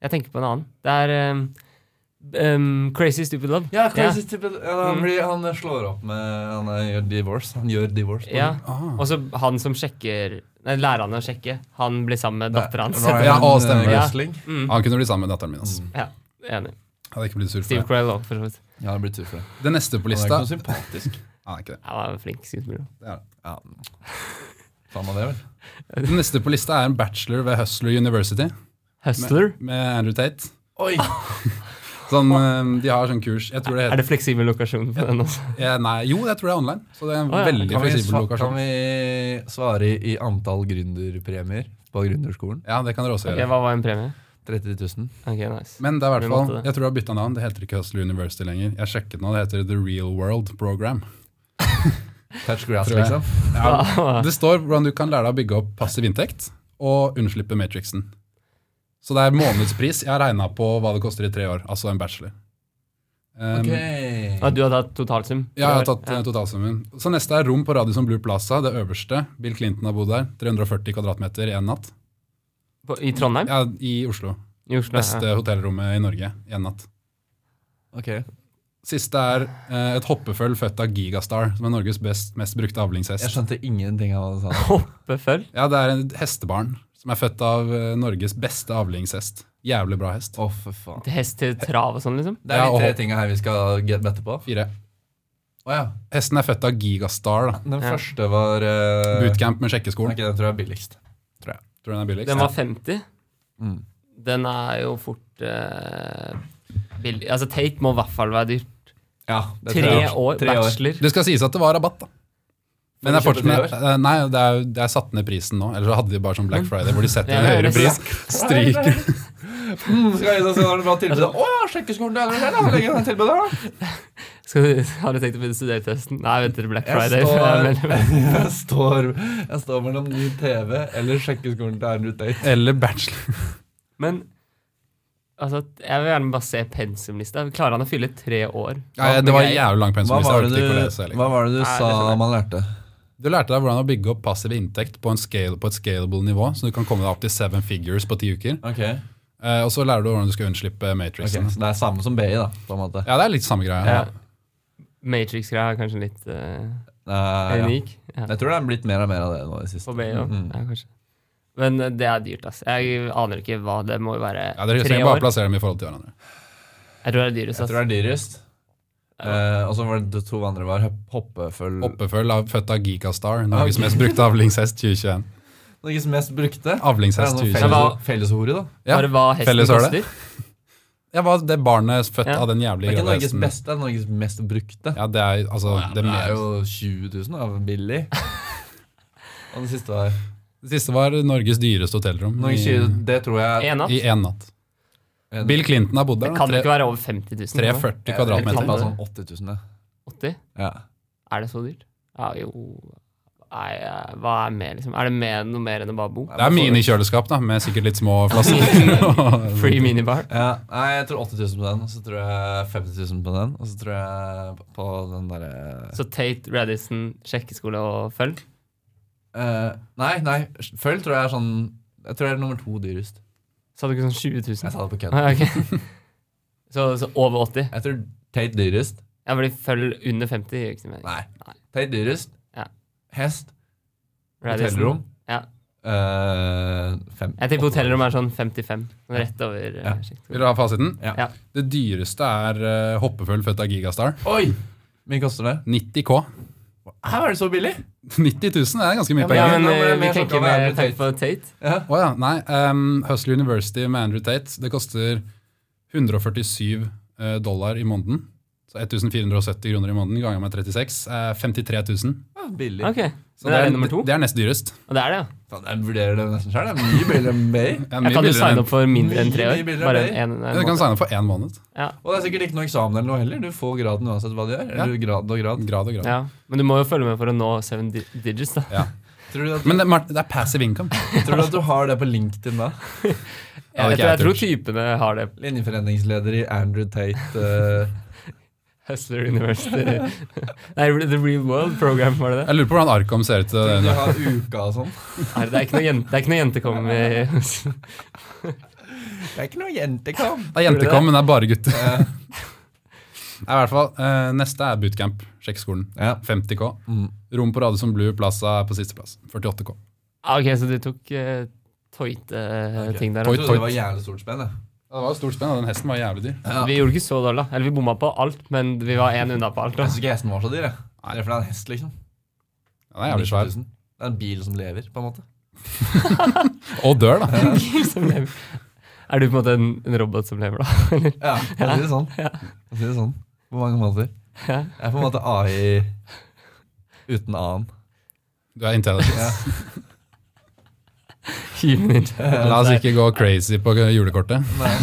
Jeg tenker på en annen. Det er um, um, Crazy Stupid Love.
Ja,
Ja.
crazy type, ja, han,
Mm.
blir, han slår opp med Han eh, gjør divorce. Han gjør divorce.
Ja.
Ah.
Og så han som sjekker Nei, læreren å sjekke. Han blir sammen med dattera hans.
Ryan
Ja, å, stemmer.
eh,
Ja.
Gosling.
Mm,
Han kunne bli sammen med datteren min. Altså.
ja, enig.
Hadde ikke blitt sur for
Steve
det.
Carell òg, for så vidt.
Ja, det blir tur for det.
Det neste på
Han er ikke
lista
noe sympatisk.
Ah, ikke det.
Han var en flink skuespiller.
Det er det.
Ja. Faen meg det, vel.
Den neste på lista er en bachelor ved Hustler University
Hustler?
med Andrew Tate.
Oi!
Sånn, eh, de har sånn kurs jeg tror det
Er
heter,
det fleksibel lokasjon på den også?
eh, Nei, Jo, jeg tror det er online. Så det er en
Å, ja.
veldig
Kan vi,
fleksibel
sva- kan
lokasjon.
vi svare i, i antall gründerpremier på gründerskolen?
Ja, det kan dere også
Ok,
gjøre.
Hva var en premie?
30 000.
Ok, nice.
Men det er
Vi
i hvert
måtte
fall,
det.
jeg tror jeg har bytta navn. Det heter ikke Hustler University lenger. Jeg sjekket nå, det heter The Real World Program.
Touch grass,
Tror jeg.
liksom.
Ja.
Det står hvordan du kan lære deg å bygge opp passiv inntekt og unnslippe Matrixen. Så det er månedspris. Jeg har regna på hva det koster i tre år, altså en bachelor. Um,
Ah,
Ok.
du har tatt totalsum?
Ja, jeg har tatt eh, totalsummen. Så neste er rom på Radisson Blue Plaza, det øverste. Bill Clinton har bodd der. 340 kvadratmeter i en natt.
På, I Trondheim?
Ja, I Oslo.
I Oslo?
Beste hotellrommet i Norge i en natt.
Ok.
Siste er eh, et hoppeføll født av Gigastar, som er Norges best, mest brukte
Jeg
avlingshest.
skjønte ingenting av hva du sa.
Hoppe føll?
Ja, Det er en hestebarn som er født av eh, Norges beste avlingshest. Jævlig bra hest.
Å, for faen.
Hest til trav og sånn, liksom?
Det er
Ja,
de tre
og-
tinga her vi skal get bette på.
Fire.
Å ja.
Hesten er født av Gigastar. da.
Den
Ja.
første var eh,
Bootcamp med
Nei,
sjekkeskolen.
ikke, den tror jeg er billigst.
Tror du den er billigst?
Den var 50.
Mm.
Den er jo fort eh, billig. Altså, Tate må i hvert fall være dyr.
Ja, det tror
Tre
jeg.
år,
Tre år.
bachelor.
Det skal sies at det var rabatt, da. Men det er
Får vi
fortsatt
kjøpe
med, eh, nei, det er, jo- det er satt ned prisen nå. Eller så hadde de bare sånn Black Friday, hvor de setter en
Ja,
høyere
det er
pris. Stryker.
Mm, skal jeg se når du har tilbudet? Å ja, sjekkeskolen der! der, der, legger den tilbudet der.
Skal du, har du tenkt å begynne studenthøsten? Nei, vent til Black
Jeg
Friday.
står, jeg, står, jeg står mellom ny TV eller sjekkeskolen til Erlend Utøy.
Eller bachelor.
Men altså, jeg vil gjerne bare se pensumlista. Klarer han å fylle tre år?
Nei, det var en jævlig lang pensum.
Hva
hvis jeg
var
orket
det
ikke å
du,
lese hele.
hva var det du
Nei, det
sa
skjønner jeg.
man lærte?
Du lærte deg hvordan å bygge opp passiv inntekt på, en scale, på et scalable nivå, så du kan komme deg opp til seven figures på ti uker.
Ok,
Eh, og så lærer du hvordan du skal unnslippe
ok,
Matrixen.
Så det er samme som BI, da, på en måte.
Ja, det er litt samme greia.
Ja. Matrix-greia er kanskje litt eh,
Eh, ja.
unik. Ja.
Jeg tror det er blitt mer og mer av det nå i det siste.
På BI òg.
Mm.
Mhm.
Ja, kanskje. Men eh, det er dyrt, ass. Jeg aner ikke hva det må jo være.
Ja, dere
tre
trenger bare
år.
plassere dem i forhold til hverandre.
Jeg tror det er dyrest,
Jeg
ass.
tror det er dyrest. Eh, og så var det de to andre var høp- hoppeføll
Oppefølg av født av Gigastar, Norges
Ah, Ok.
mest brukte avlingshest 2021.
Norges mest brukte. Det er
Avlingshest
noe
2021.
Ja,
felles-
hva-
felleshore, da.
Ja,
Bare hva hesten
felles er
koster.
det. Ja, hva, det barnet født
Ja.
av den
Det
jævlige
er ikke
grønne
Norges
hesten.
beste, det er Norges mest brukte.
Ja, det er altså det,
Det er
mer-
jo 20 000 av billig. Og det siste var
det siste var Norges dyreste hotellrom
Norges
i,
20, Det tror jeg
En natt.
i én natt.
en-
Bill Clinton har bodd
Det
der. da.
kan jo
Tre-
ikke være over 50 000.
340
Jeg
kvadratmeter.
tipper sånn 80 000, jeg.
80?
Ja.
Er det så dyrt? Ja, jo Nei, eh, hva er mer, liksom? Er det mer, noe mer enn å bare bo? Altså,
Det er minikjøleskap, da, med sikkert litt små flasker.
Free minibar?
Ja, nei, jeg tror 80 000 på den, og så tror jeg 50 000 på den, og så tror jeg på- på den derre
Så Tate, Radisson, sjekkeskole og føll?
eh, Nei, nei, følg tror jeg er sånn Jeg tror jeg er nummer to dyrest.
Sa du ikke sånn 20
Jeg
000?
sa det på kødd.
Ah, ok. så, så over 80?
Jeg tror Tate dyrest.
Ja, fordi føll under 50 gjør ikke noe mening.
Nei. Tate dyrest.
Ja.
Hest.
Radisson.
Hotellrom.
liksom- Ja.
Eh, fem.
Jeg tipper hotellrom er sånn 55. Rett over eh,
Ja.
ja. sjekkeskole.
Vil du ha fasiten?
Ja.
Ja.
Det dyreste er eh, hoppeføll født av Gigastar.
Oi! Hvor mye koster det?
90 K.
Her var det så billig!
90 000 er ganske mye
Ja,
penger.
Ja,
Nå
men
ble jeg
eh, vi
mer sjokka
tenker
over
mer
Andrew
tenk på Tate.
Ja.
Å ja, nei. ehm, Hustle University med Andrew Tate. Det koster 147 eh, dollar i måneden. Så 1470 kroner i måneden ganger med 36 er 53 000.
Ja, billig.
Ok,
Så
så det er nummer to.
Det er nest dyrest.
Og det er det, ja.
Faen, jeg vurderer det nesten sjøl. Det er mye billigere enn meg.
Det er mye
Jeg kan jo
billigere enn-
signe opp for mindre enn tre år.
Mye billigere
Bare
enn
en, en,
Du kan
måned.
signe opp for én måned.
Og det er sikkert ikke noe eksamen eller noe heller. Du får graden uansett hva du gjør. Eller grad og grad.
Grad og grad.
Ja. Men du må jo følge med for å nå seven di digits, da.
Tror du, at,
Men det, Martin, det er passive income.
tror du at du har det på LinkedIn da?
Ja,
Jeg,
det
tror, jeg
er ikke
tror typene har det.
Linjeforeningsleder i Andrew Tate. eh,
Hustler University Nei, The Real World Program, var det det?
Jeg lurer på hvordan Arkom ser ut.
tror
eh,
du
nå.
de har uka og sånn.
Nei, det er ikke noe jente, det er ikke noe jente kommer med
Det er ikke noe jentekam.
Tror
Det er
du det?
jentekom, men det er bare gutter.
Eh,
Nei, i hvert fall, eh, Neste er bootcamp. Sjekkskolen.
ja.
50 K.
Mm.
Rom på Radisson Blue Plaza er på sisteplass. 48 K.
Ah, Ok, så du tok uh, tøyte-ting der.
Toit.
Jeg trodde det var jævlig stort spenn. jeg.
Det var stort spenn, og den hesten var jævlig dyr.
da. Vi gjorde ikke så dårlig, da. Eller vi bomma på alt, men vi var én unna på alt.
Jeg
Da.
syns ikke hesten var så dyr. jeg. Det er fordi det er en hest, liksom.
Ja, den er jævlig svær.
90 000. Det er en bil som lever, på en måte.
Og dør, da.
Som lever. er du på en måte en, en robot som lever, da?
Ja, jeg sier det sånn. Jeg sier det sånn. På mange måter.
Ja.
Jeg er på en måte AI uten annen.
Du er intelligent.
Ja.
Human intelligence.
La oss ikke gå crazy på julekortet.
Nei,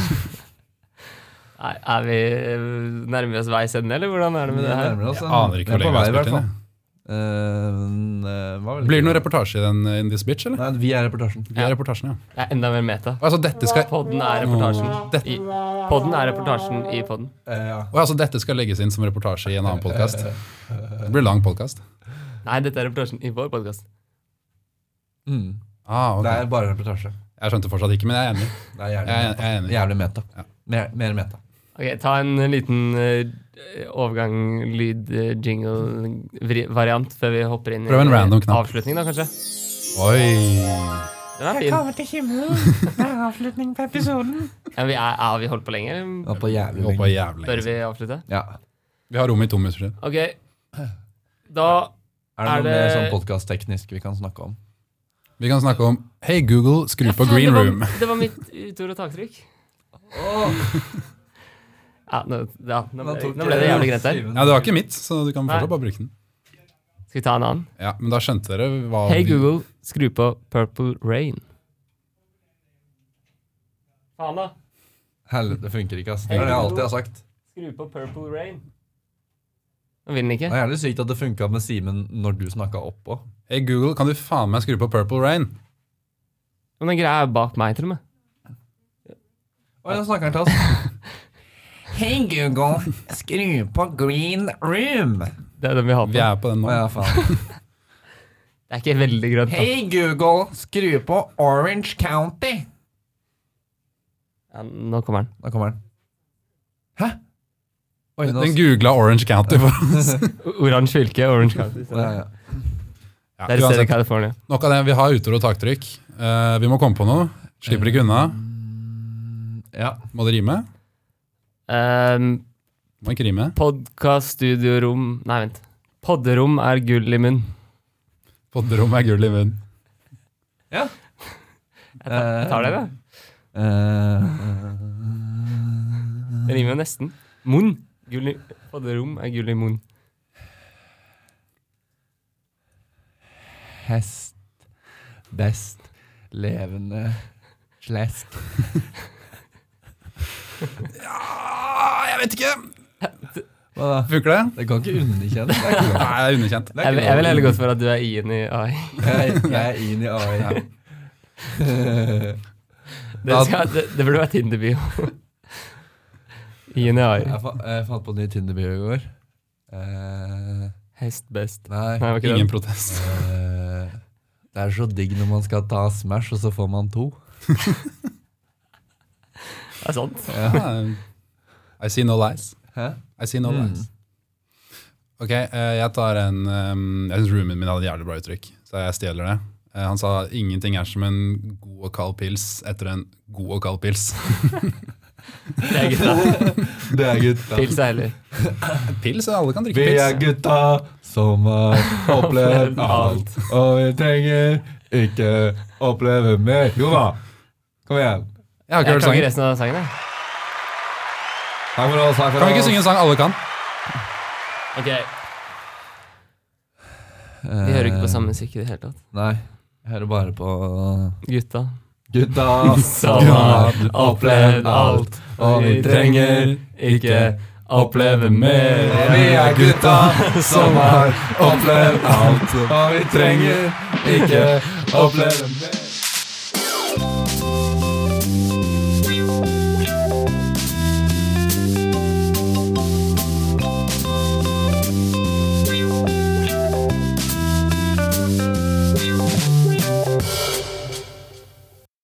Nei, er vi eh, nærmer vi oss veis ende, eller hvordan er det
vi
med det her?
nærmer oss,
Jeg
ja.
aner
Vi
ikke
Sånn. er
hvor
på
lenge vi har
vei, i hvert
spilt inn.
fall.
jeg.
Eh, men, eh, hva vil
Blir det noen reportasje i den eh, In This Bitch, eller?
Nei, vi er reportasjen.
Vi har reportasjen, ja.
Det er enda mer meta.
Og Altså, dette skal,
Podden er reportasjen.
Dette-
I, podden er reportasjen i podden.
Eh, ja. Eh,
og altså, dette skal legges inn som reportasje i en annen podkast. Det blir lang podkast.
Nei, dette er reportasjen i vår podkast.
Mm.
Ah, ok.
Det er bare reportasje.
Jeg skjønte fortsatt ikke, men jeg er enig.
Det er jævlig,
Jeg er, jeg er
meta.
enig.
jævlig meta.
Ja.
Mer, mer meta.
Ok, ta en liten eh, overgang, lyd, eh, jingle, vri, variant før vi hopper inn
Prøv en
eh,
random knapp.
avslutning, da, kanskje.
Oi.
Den er
Jeg
fin.
kommer til himmelen. Det er avslutning på episoden.
Ja, vi er, er vi holdt på lenge?
Ja,
eller
på jævlig
Vi holdt på
lenge.
jævlig
Bør
lenge.
vi avslutte?
Ja.
Vi har rommet i tomhuset.
Ok, da
Er det
Er
noe
det-
mer sånn podkastteknisk vi kan snakke om?
Vi kan snakke om Hei, Google, skru på green
det var,
room.
Det var mitt utord og taktrykk. Ja, nå, ja, nå,
Nå
ble,
tok
nå ble det
jeg-
jævlig greit der.
Steven.
Ja, det var ikke mitt, så du kan
Nei.
fortsatt bare bruke den.
Skal vi ta en annen?
Ja, Men da skjønte dere hva
Hei,
vi-
Google, skru på Purple Rain. Faen, da.
Helvete, det funker ikke, ass. Det er det jeg alltid har sagt.
Skru på Purple Rain. Nå vil den ikke.
Det er jævlig sykt at det funka med Simen når du snakka opp òg.
Hei, Google, kan du faen meg skru på Purple Rain?
Men den greia er bak meg, til og med.
Oi, nå snakker han til oss. Hei, Google. Skru på green room.
Det er den vi har
Vi
på.
er på den
Å
nå.
ja, faen.
Det er ikke veldig grønt. da.
Google. Skru på Orange County.
Ja, nå kommer den.
Da kommer den. Hæ? Oi, nå
Den googla Orange County for oss.
O- Oransje fylke, Orange County.
ja, ja.
Ja,
Der ser du
uansett,
California.
nok av det. Vi har utor og taktrykk. Eh, vi må komme på noe. Slipper ikke unna.
Mm, ja.
Må det rime?
Um,
Må ikke rime.
Podkast, studiorom Nei, vent. Podderom er gull i munn.
Podderom er gull i munnen.
Jeg tar, jeg tar det, da.
Eh.
Eh,
Det rimer jo nesten. Munn. Gull i Podderom er gull i munn.
hest. Best. Levende. Slesk.
Ah, jeg vet ikke!
Hva da?
Funker det?
Det kan ikke underkjenne. Det er ikke lov.
Nei, det er underkjent.
Det er
Jeg,
ikke
vil- jeg vil
lov.
heller gått for at du er Ian i AI.
Jeg, jeg er inn i AI.
Det, skal, det, det burde vært Tinder-bio. Ian i AI.
Jeg, fa jeg fant på en ny Tinder-bio i går. Eh,
Hest best.
nei
Nei, var ikke
Ingen
det.
protest.
Eh, Det er så digg når man skal ta Smash, og så får man to.
Det er sant.
Ja. um, I see no lies.
Hæ?
I see no
Mm.
lies. Ok, eh, jeg tar en ehm, Jeg syns roomien min hadde et jævlig bra uttrykk, så jeg stjeler det. Eh, han sa 'ingenting er som en god og kald pils etter en god og kald pils'.
Det er gutta.
Det er gutta.
Pils er heller.
Pils? Alle kan drikke
Vi er
pils.
gutta som har opplevd alt. Og vi trenger ikke oppleve mer. Jo da! Kom igjen.
Jeg har ikke
Jeg
hørt
kan ikke
sangen.
resten av sangen. jeg.
Takk for oss. Takk for
Kan vi ikke
oss.
synge en sang alle kan?
Ok, Vi hører ikke på samme musikk i det hele tatt.
Eh, Nei. Jeg hører bare på
Gutta.
Gutta
Som har opplevd alt,
og vi trenger
ikke oppleve
Og vi er gutta som har opplevd alt, og vi trenger ikke oppleve mer.